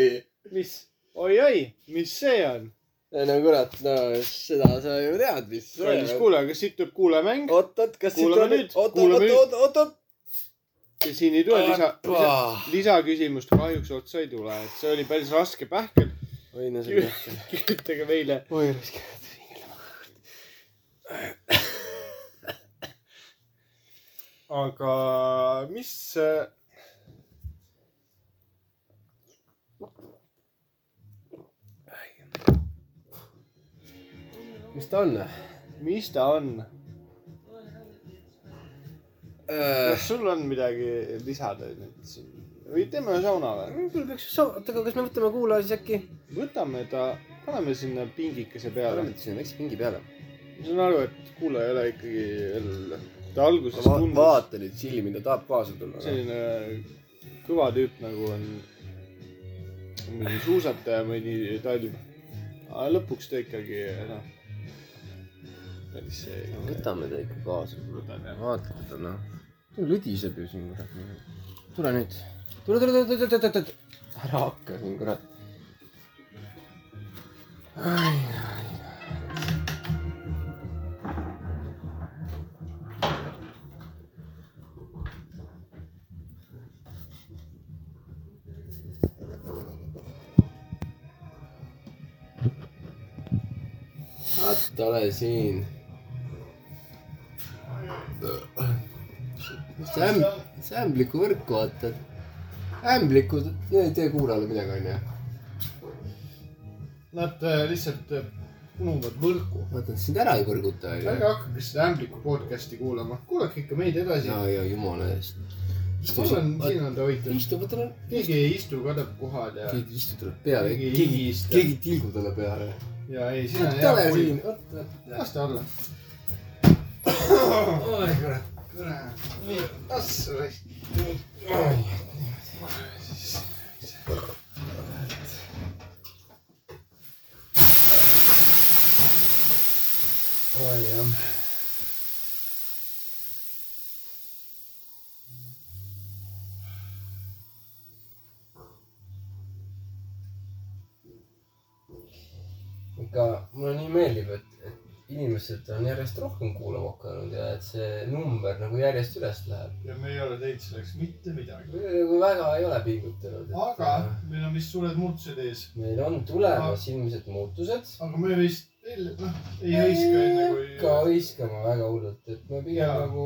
S1: mis , oi-oi , mis see on ?
S2: no kurat , no seda sa ju tead , mis .
S1: kallis kuulaja , kas siit tuleb kuulajamäng ?
S2: oot-oot , kas siit
S1: Kuulame
S2: on
S1: nüüd,
S2: nüüd ,
S1: kuulame nüüd.
S2: oot-oot , oot-oot .
S1: siin ei tule lisa , lisa , lisaküsimust kahjuks otsa ei tule , et see oli päris raske pähkel .
S2: oi , no see on jah .
S1: *laughs* kirjutage meile .
S2: *laughs* oi , raske .
S1: aga mis ?
S2: mis ta on ?
S1: mis ta on ?
S2: Äh,
S1: kas sul on midagi lisada nüüd siin või teeme ühe sauna või ?
S2: küll peaks , oota , aga kas me võtame kuulaja siis äkki ?
S1: võtame ta , paneme sinna pingikese peale .
S2: paneme ta sinna väikse pingi peale .
S1: ma saan aru , et kuulaja ei ole ikkagi veel , ta alguses
S2: Va
S1: tundus
S2: vaata nüüd Silli , mida tahab kaasa tulla .
S1: selline kõva tüüp nagu on mingi suusataja või nii talv . aga lõpuks ta ikkagi noh , päris see .
S2: võtame ta ikka kaasa .
S1: võtame jah .
S2: vaata teda noh . lõdiseb ju siin kurat . tule nüüd . tule , tule , tule , tule , tule , tule . ära hakka siin kurat . vaata , ole siin see ämb- , see ämbliku võrk , vaata . ämblikud , need ei tee kuulajale midagi , onju .
S1: Nad äh, lihtsalt punuvad võrku .
S2: vaata , et sind ära ei kõrguta , onju .
S1: ärge hakake seda ämbliku podcast'i kuulama , kuulake ikka meid edasi .
S2: ja , ja jumala eest . istu
S1: mul on , siin
S2: siin .
S1: on ta hoitud .
S2: istu , võta talle .
S1: keegi ei istu , kadab kohal ja ,
S2: keegi ei istu talle peale ,
S1: Keegi ei
S2: keegi
S1: istu. ,
S2: keegi ei tilgu talle peale .
S1: ja ei , siin on
S2: tule
S1: hea pull .
S2: siin , oota , oota .
S1: las ta olla .
S2: oi kurat .
S1: kurat , las see raisk .
S2: oi jah . ikka mulle nii meeldib , et , et inimesed on järjest rohkem kuulama hakanud ja et see number nagu järjest üles läheb .
S1: ja me ei ole teinud selleks mitte midagi .
S2: me nagu väga ei ole pingutanud .
S1: aga
S2: äh,
S1: meil on vist suured muutused ees ,
S2: meil on tulemas ilmselt muutused .
S1: aga me vist veel , noh , ei hõiska enne
S2: ka
S1: kui .
S2: hõiskama väga hullult , et me pigem
S1: Jaa.
S2: nagu ,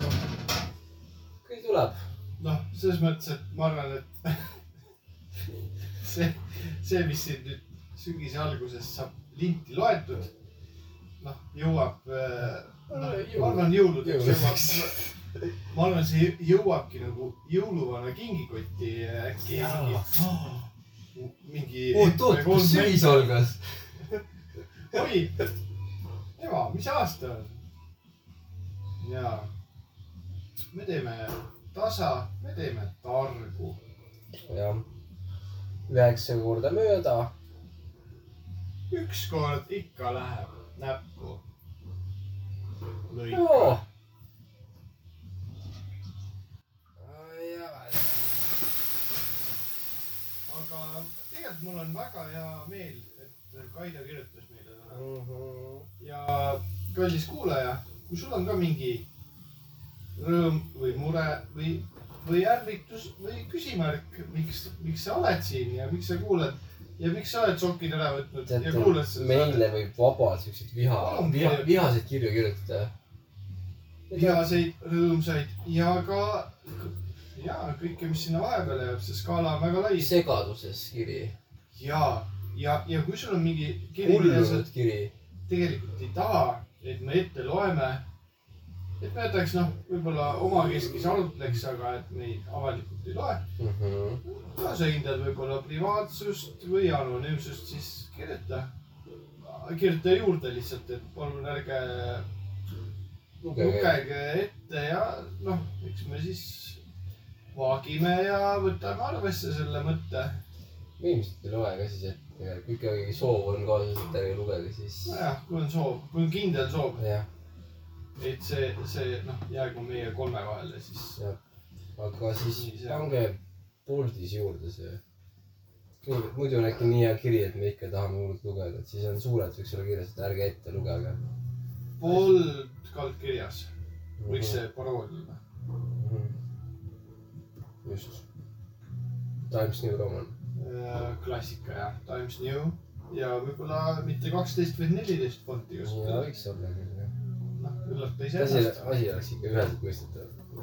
S2: noh , küll tuleb .
S1: noh , selles mõttes , et ma arvan , et *laughs* see , see , mis siin nüüd sügise alguses saab linti loetud , noh , jõuab , noh , ma arvan , jõuludeks jõuab . ma arvan , see jõuabki nagu jõuluvana kingikotti eh, äkki mingi , mingi .
S2: algas ?
S1: oi , ema , mis aasta on ? ja me teeme tasa , me teeme targu
S2: jah , üheksa korda mööda .
S1: ükskord ikka läheb näppu . lõika .
S2: ja
S1: aga tegelikult mul on väga hea meel , et Kaido kirjutas meile täna . ja kallis kuulaja , kui sul on ka mingi rõõm või mure või , või ärritus või küsimärk , miks , miks sa oled siin ja miks sa kuulad ja miks sa oled sokid ära võtnud ja kuulad seda saadet
S2: meile võib vabalt siukseid viha ,
S1: Palun
S2: viha
S1: kirjuta. ,
S2: vihaseid kirju kirjutada .
S1: vihaseid , rõõmsaid ja ka ja kõike , mis sinna vahepeale jääb , see skaala on väga lai .
S2: segaduses kiri ,
S1: ja , ja , ja kui sul on mingi kiri , mida sa
S2: hullunud kiri .
S1: tegelikult ei taha , et me ette loeme , et me jätaks noh , võib-olla omakeskis arutleks , aga et me ei- avalikult ei loe .
S2: Mhm.
S1: kuidas sa hindad võib-olla privaatsust või anonüümsust , siis kirjuta , kirjuta juurde lihtsalt , et palun ärge
S2: lugege .
S1: lugege ette ja noh , eks me siis vaagime ja võtame arvesse selle mõtte .
S2: ilmselt ei loe ka siis , et tegelikult ikka mingi soov on kaasas , et ärge lugege siis .
S1: nojah , kui on soov , kui on kindel soov ,
S2: jah ,
S1: et see , see noh , jäägu meie kolme vahele , siis
S2: aga siis pange Boltis juurde see . muidu on äkki nii hea kiri , et me ikka tahame hullult lugeda , et siis on suurelt võiks olla kirjas , et ärge ette lugege .
S1: poolt kaldkirjas võiks see parool olla .
S2: Mhm. just . Times New Roman .
S1: Äh, klassika jah , Times New ja võib-olla mitte kaksteist , vaid neliteist fonti
S2: ja
S1: kasutada .
S2: võiks olla küll jah .
S1: noh , üllata
S2: asi ,
S1: iseennast .
S2: asi oleks ikka üheselt mõistetav .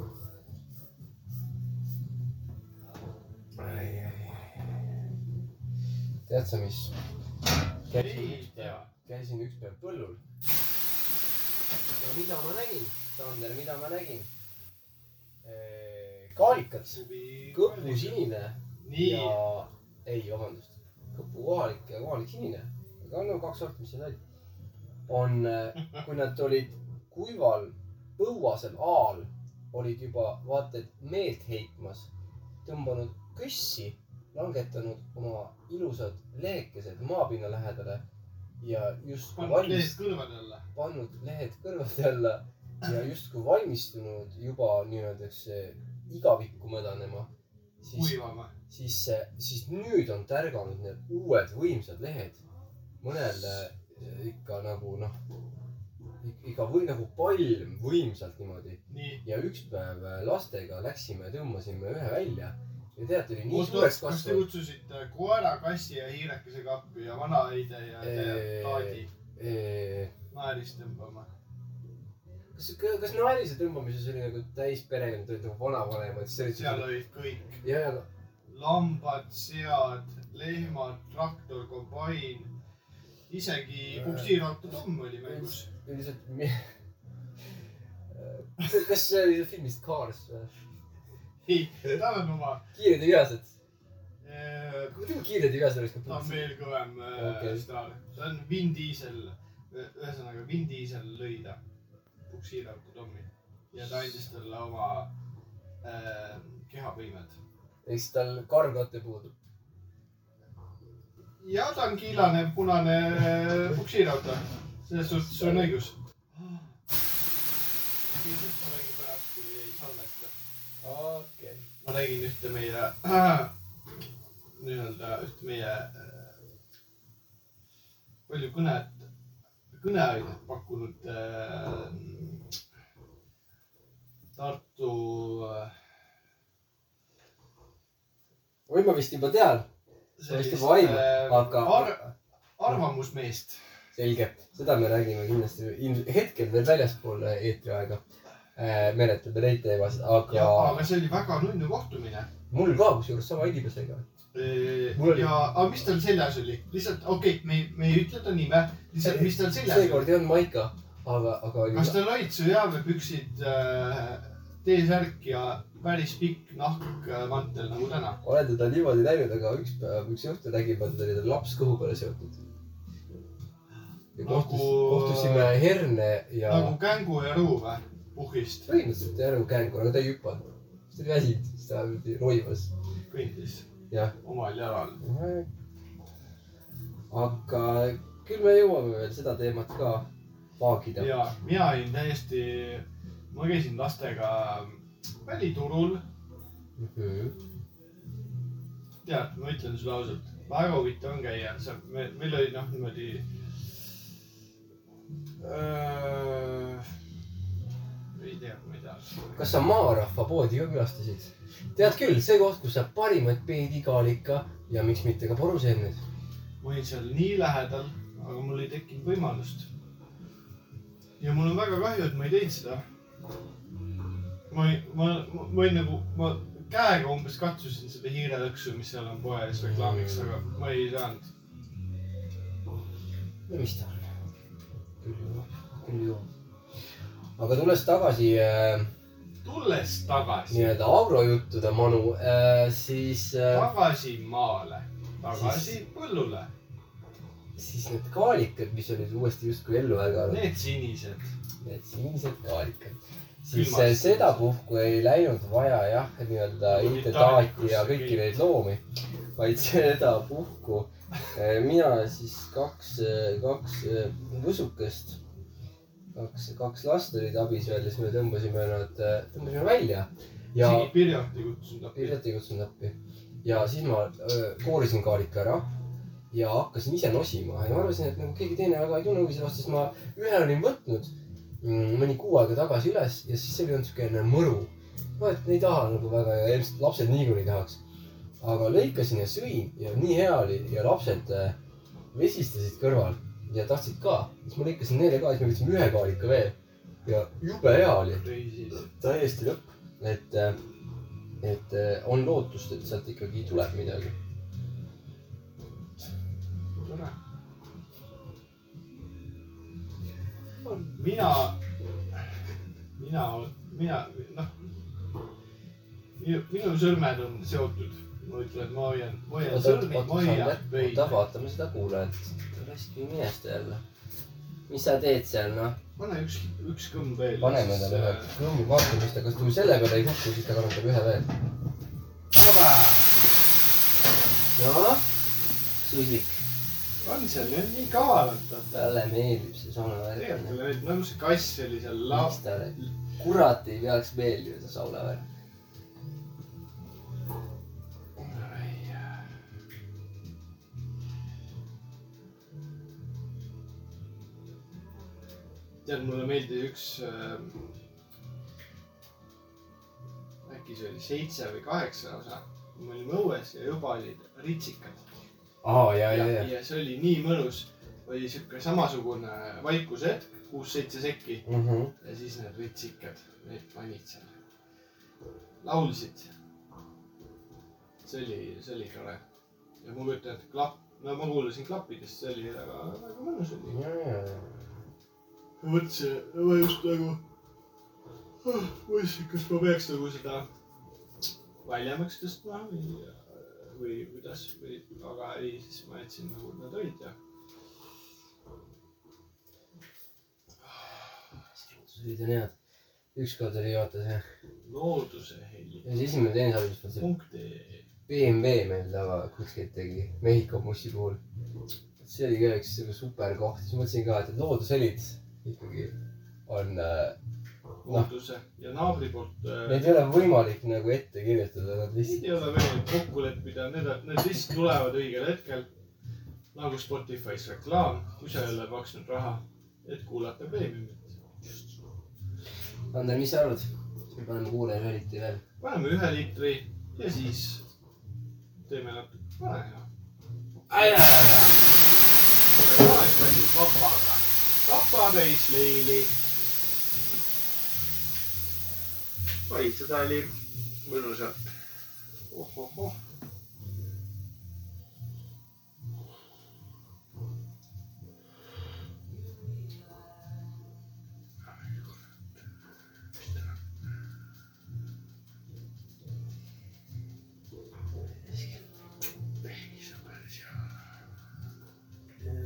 S2: tead sa , mis ?
S1: ei tea .
S2: käisin üks päev põllul . no mida ma nägin , Sander , mida ma nägin ? Äh, kaalikas , kõpu . sinine
S1: nii ,
S2: ja , ei , vabandust , kõpu kohalik ja kohalik sinine , aga no kaks sorti , mis need olid , on , kui nad olid kuival põuasel aal , olid juba vaata et meelt heitmas , tõmbanud kössi , langetanud oma ilusad lehekesed maapinna lähedale ja justkui
S1: pannud
S2: valmis
S1: need kõrvade alla .
S2: pannud lehed kõrvade alla ja justkui valmistunud juba nii-öelda igavikku mädanema , siis ,
S1: kuivama .
S2: siis , siis nüüd on tärganud need uued võimsad lehed . mõnel äh, ikka nagu noh , ikka või nagu palm võimsalt niimoodi
S1: nii .
S2: ja üks päev äh, lastega läksime , tõmbasime ühe välja ja tead , oli nii
S1: oota ,
S2: suureks
S1: kas te
S2: kasvanud .
S1: kutsusite koera , kassi ja hiirekesega appi ja vanaheide ja
S2: Eee.
S1: taadi
S2: kas ,
S1: naeris tõmbama ?
S2: kas naerise tõmbamises oli nagu täis perekond , olid nagu vanavanemad , siis
S1: seal
S2: olid
S1: olid kõik
S2: ja , ja
S1: lambad , sead , lehmad , traktor , kombain , isegi puksiirattotumm oli mängus .
S2: lihtsalt mi- . kas see oli see filmist Cars või ?
S1: ei , tal on oma ,
S2: kiired ja vihased .
S1: ta
S2: muidugi kiired ja vihased oleks ka
S1: eh, on
S2: puhas .
S1: veel kõvem äh,
S2: Okei.
S1: staar , see on Vin Diesel , ühesõnaga Vin Diesel lõi ta puksiirattotummi ja ta andis talle oma äh, kehapõimed .
S2: ehk siis tal karvkate puudub .
S1: ja ta on kiilane , punane äh, puksiirauto , selles suhtes on õigus . kindlasti ma räägin pärast , kui ei salvesta .
S2: okei .
S1: ma nägin ühte meie äh, , nii-öelda ühte meie äh, palju kõnet , kõneainet pakkunud äh, Tartu äh,
S2: või ma vist juba tean .
S1: sellist,
S2: Hästi vaim,
S1: äh,
S2: aga-
S1: ar, arvamusmeest .
S2: selge , seda me räägime kindlasti ilmselt hetkel veel väljaspool eetriaega . menetleda neid teemasid ,
S1: ja ,
S2: aga
S1: aga see oli väga nunnu kohtumine .
S2: mul ka kusjuures sama inimesega . Mul oli-
S1: ja , aga mis tal seljas oli ? lihtsalt , okei okay, , me ei , me ei ütle ta nime , lihtsalt , mis tal seljas oli ?
S2: seekord ei olnud Maika , aga , aga oli
S1: kas . tal olid sõjaväepüksid äh, , T-särk ja päris pikk nahkmantel nagu täna ?
S2: olen teda niimoodi näinud , aga üks päev , üks õhtu nägin ma teda , oli tal laps kõhu peale seotud . ja kohtus nagu... ,
S1: Nagu-
S2: kohtusime herne ja
S1: nagu
S2: nagu...
S1: kängu ja ruu või ? puhist ,
S2: põhimõtteliselt jah , nagu kängur , aga ta ei hüpanud . siis ta oli väsinud , siis ta oli roivas .
S1: kõndis
S2: Jah.
S1: omal jalal .
S2: aga küll me jõuame veel seda teemat ka vaagida .
S1: ja mina olin täiesti , ma käisin lastega väliturul ,
S2: Mhm.
S1: tead , ma ütlen sulle ausalt , väga huvitav on käia , seal me , meil oli noh , niimoodi äh, . ei tea , ma ei tea .
S2: kas sa maarahva poodi ka külastasid ? tead küll , see koht , kus saab parimaid peedikalika ja miks mitte ka poruseemneid .
S1: ma olin seal nii lähedal , aga mul ei tekkinud võimalust . ja mul on väga kahju , et ma ei teinud seda . ma ei , ma , ma olin nagu , ma käega umbes katsusin seda hiirelõksu , mis seal on poe ees reklaamiks , aga ma ei saanud .
S2: no mis ta on ? küll juba , küll juba . aga tulles tagasi äh,
S1: tulles tagasi ,
S2: nii-öelda agrojuttude manu äh, , siis äh, ,
S1: tagasi maale , tagasi põllule ,
S2: siis need kaalikad , mis olid uuesti justkui ellu ärganud ,
S1: need sinised .
S2: need sinised kaalikad , siis
S1: Külmast
S2: äh, sedapuhku ei läinud vaja jah , nii-öelda
S1: Mingit
S2: intedaati ja
S1: taimikusse
S2: kõiki
S1: kõik.
S2: neid loomi , vaid *laughs* sedapuhku äh, mina siis kaks , kaks äh, võsukest , kaks , kaks last olid abis veel ja siis me tõmbasime nad , tõmbasime välja ja
S1: isegi Pirjati kutsunud appi .
S2: Piret ei kutsunud appi ja siis ma öö, koorisin kaalika ära ja hakkasin ise nosima ja ma arvasin , et nagu keegi teine väga ei tunne huvi selle vastu , sest ma ühe olin võtnud mm, mõni kuu aega tagasi üles ja siis see oli olnud siukene mõru . vaat ei taha nagu väga ja ilmselt lapsed niikuinii tahaks . aga lõikasin ja sõin ja nii hea oli ja lapsed äh, vesistasid kõrval ja tahtsid ka . siis ma lõikasin neile ka , siis me võtsime ühe kaalika veel ja jube hea oli
S1: või siis
S2: täiesti lõpp , et , et äh, on lootust , et sealt ikkagi tuleb midagi .
S1: tore . mina , mina , mina , noh , minu , minu sõrmed on seotud . ma ütlen , ma hoian , ma hoian sõrmi , ma hoian
S2: oota ,
S1: veidi .
S2: vaatame seda kuulajat , raiski minest jälle . mis sa teed seal , noh ?
S1: pane üks , üks kõmm äh, veel .
S2: paneme talle ühe . kõmmi , vaatame , mis ta , kas kui selle peale ei kuku , siis ta kannatab ühe veel . noh , suslik ,
S1: on seal , need on nii kavalad , vaata .
S2: talle meeldib see saunavärk .
S1: tegelikult oli nagu see kass oli seal
S2: mis
S1: laos .
S2: talle , kurat ei peaks meeldima see saunavärk .
S1: tead , mulle meeldis üks äh, , äkki see oli seitse või kaheksa osa , kui me olime õues ja juba olid ritsikad
S2: aa , ja ,
S1: ja,
S2: ja , ja .
S1: ja see oli nii mõnus , oli siuke samasugune vaikushetk , kuus-seitse sekki ja siis need ritsikad , need panid seal , laulsid . see oli , see oli tore ja ma kujutan ette , klapp , no ma kuulasin klappidest , see oli väga , väga mõnus oli .
S2: ja , ja , ja .
S1: mõtlesin , ma just nagu , mõtlesin , kas ma peaks nagu seda väljemaks tõstma või , või kuidas või , aga ei , siis ma jätsin nagu nad olid ja
S2: olid on head . ükskord oli vaata see ,
S1: looduse heli
S2: see esimene teenisaldus oli see
S1: punkt ee
S2: BMW meil taga kuskilt tegi Mehhiko bussi puhul . see oli ka üks siuke super koht , siis mõtlesin ka , et loodushelid ikkagi on ,
S1: looduse ja naabri poolt
S2: neid
S1: äh, .
S2: ei ole võimalik nagu ette kirjutada , nad
S1: Neid
S2: lihtsalt
S1: ei ole veel kokku leppida , need , need lihtsalt tulevad õigel hetkel . nagu Spotify's reklaam , kui sa ei ole maksnud raha , et kuulata preemiumit .
S2: Ander , mis sa arvad ? me paneme kuulaja eriti veel .
S1: paneme ühe liitri ja siis teeme natuke , pane hea . aeg pani papaga , papa täis leili . oi , seda oli mõnusalt . ohohoh .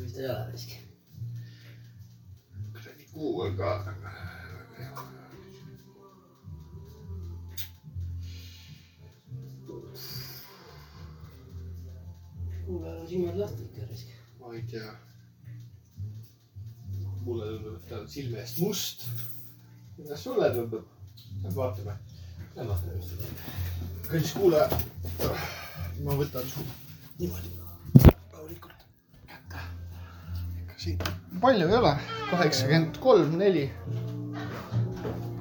S2: vist ei ole risk .
S1: kuidagi kuu on ka väga hea .
S2: kuulajal on silmad lahti ikka risk .
S1: ma ei tea . mulle tundub , et ta on silme eest must . kuidas sulle tundub ? vaatame .
S2: Lähme vaatame , mis ta teeb .
S1: kallis kuulaja , ma võtan su niimoodi rahulikult kätte . ega siin palju ei ole , kaheksakümmend kolm , neli .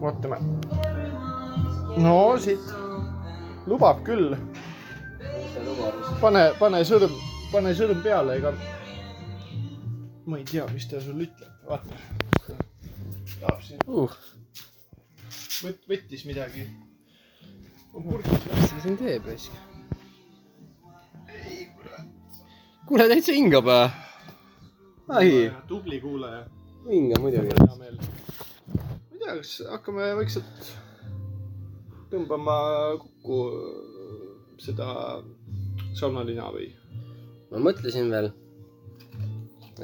S1: vaatame . no siit lubab küll ,
S2: mis ta luba on ?
S6: pane , pane sõrm , pane sõrm peale , ega . ma ei tea , mis ta sul ütleb , vaata . tahab siin
S7: uh, .
S6: võt- , võttis midagi . on purk .
S7: mis ta siin teeb , raisk ? kuule , täitsa hingab . ai ,
S6: tubli kuulaja ,
S7: hingab muidugi .
S6: hea meel . ma ei
S1: ei tea , kas hakkame vaikselt tõmbama kokku seda saunalina või ?
S2: ma mõtlesin veel ,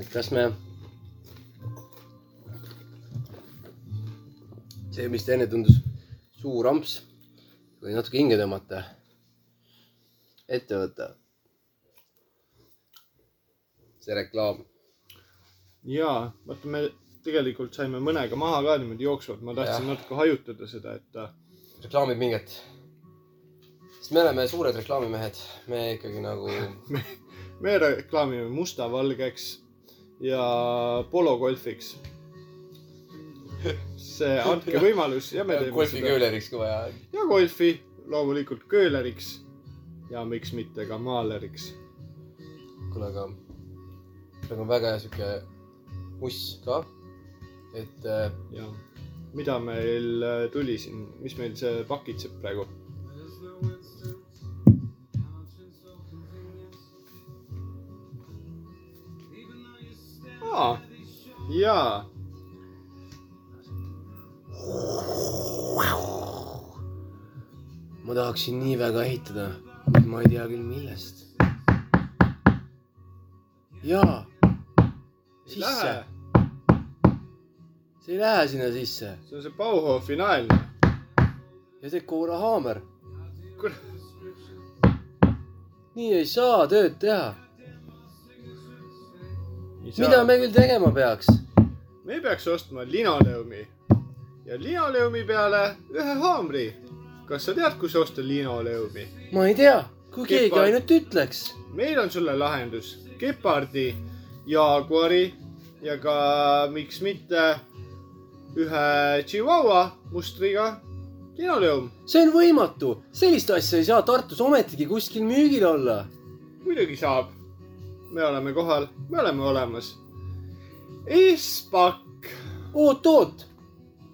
S2: et kas me . see , mis ta enne tundus suur amps , kui natuke hinge tõmmata , ette võtta . see reklaam ,
S1: jaa , vaata me tegelikult saime mõnega maha ka niimoodi jooksvalt , ma tahtsin natuke hajutada seda , et äh,
S2: reklaamib mingit . sest me oleme suured reklaamimehed , me ikkagi nagu ,
S1: me reklaamime mustavalgeks ja pologolfiks . see , andke võimalus ja me teeme
S2: golfi
S1: seda .
S2: kööleriks kui vaja .
S1: ja golfi , loomulikult kööleriks ja miks mitte ka maaleriks .
S2: kuule , aga meil on väga hea sihuke muss ka , et äh,
S1: jah , mida meil äh, tuli siin , mis meil see pakitseb praegu ? aa , jaa .
S2: ma tahaksin nii väga ehitada , kuid ma ei tea küll , millest . jaa , sisse , see ei lähe sinna sisse
S1: see on see Bauhofi nael .
S2: ja see Cora Hammer ,
S1: kuule ,
S2: nii ei saa tööd teha . mida ? me küll tegema peaks ?
S1: me peaks ostma linoleumi ja linoleumi peale ühe haamri . kas sa tead , kus osta linoleumi ?
S2: ma ei tea , kui keegi
S1: Kipar.
S2: ainult ütleks .
S1: meil on sulle lahendus . kepardi , jaaguari ja ka miks mitte ühe Chihuahua mustriga linoleum .
S2: see on võimatu , sellist asja ei saa Tartus ometigi kuskil müügil olla .
S1: muidugi saab . me oleme kohal , me oleme olemas . Espakk ,
S2: oot-oot ,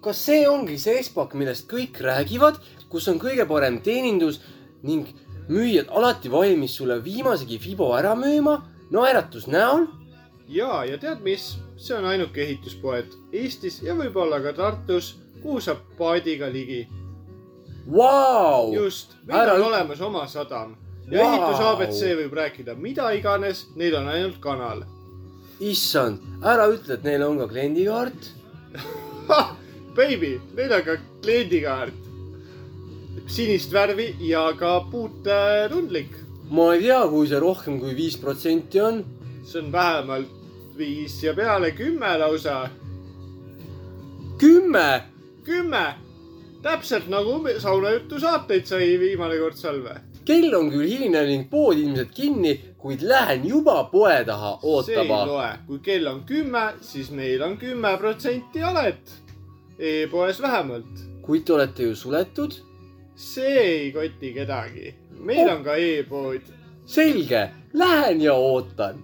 S2: kas see ongi see Espak , millest kõik räägivad , kus on kõige parem teenindus ning müüjad alati valmis sulle viimasegi Fibo ära müüma naeratus näol ?
S1: ja , ja tead mis , see on ainuke ehituspoed Eestis ja võib-olla ka Tartus , kuhu saab paadiga ligi .
S2: Vau ,
S1: just , meil
S2: Oh, Ära
S1: Ära... on
S2: üt-
S1: olemas oma sadam ja wow.
S2: Vau!
S1: ehitus abc võib rääkida mida iganes , neil on ainult kanal .
S2: issand , ära ütle , et neil on ka kliendikaart .
S1: Baby , neil on ka kliendikaart . sinist värvi ja ka puutetundlik .
S2: ma ei tea , kui see rohkem kui viis protsenti on .
S1: see on vähemalt viis ja peale kümme lausa
S2: kümme ,
S1: kümme , täpselt nagu me- saunajutu saateid sai viimane kord Salve .
S2: kell on küll hiline ning pood ilmselt kinni , kuid lähen juba poe taha
S1: see ei
S2: ootama .
S1: loe , kui kell on kümme , siis meil on kümme protsenti alet e-poes vähemalt .
S2: kuid te olete ju suletud
S1: see ei koti kedagi , meil on ka e-pood .
S2: selge , lähen ja ootan .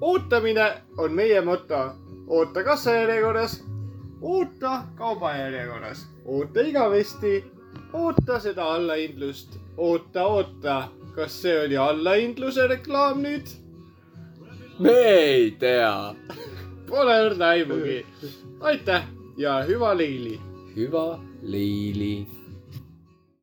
S1: ootamine on meie moto , oota kassajärjekorras , oota kaubajärjekorras , oota igavesti , oota seda allahindlust , oota , oota , kas see oli allahindluse reklaam nüüd ?
S2: me ei tea .
S1: Pole õrna aimugi . aitäh ja hüva leili .
S2: hüva leili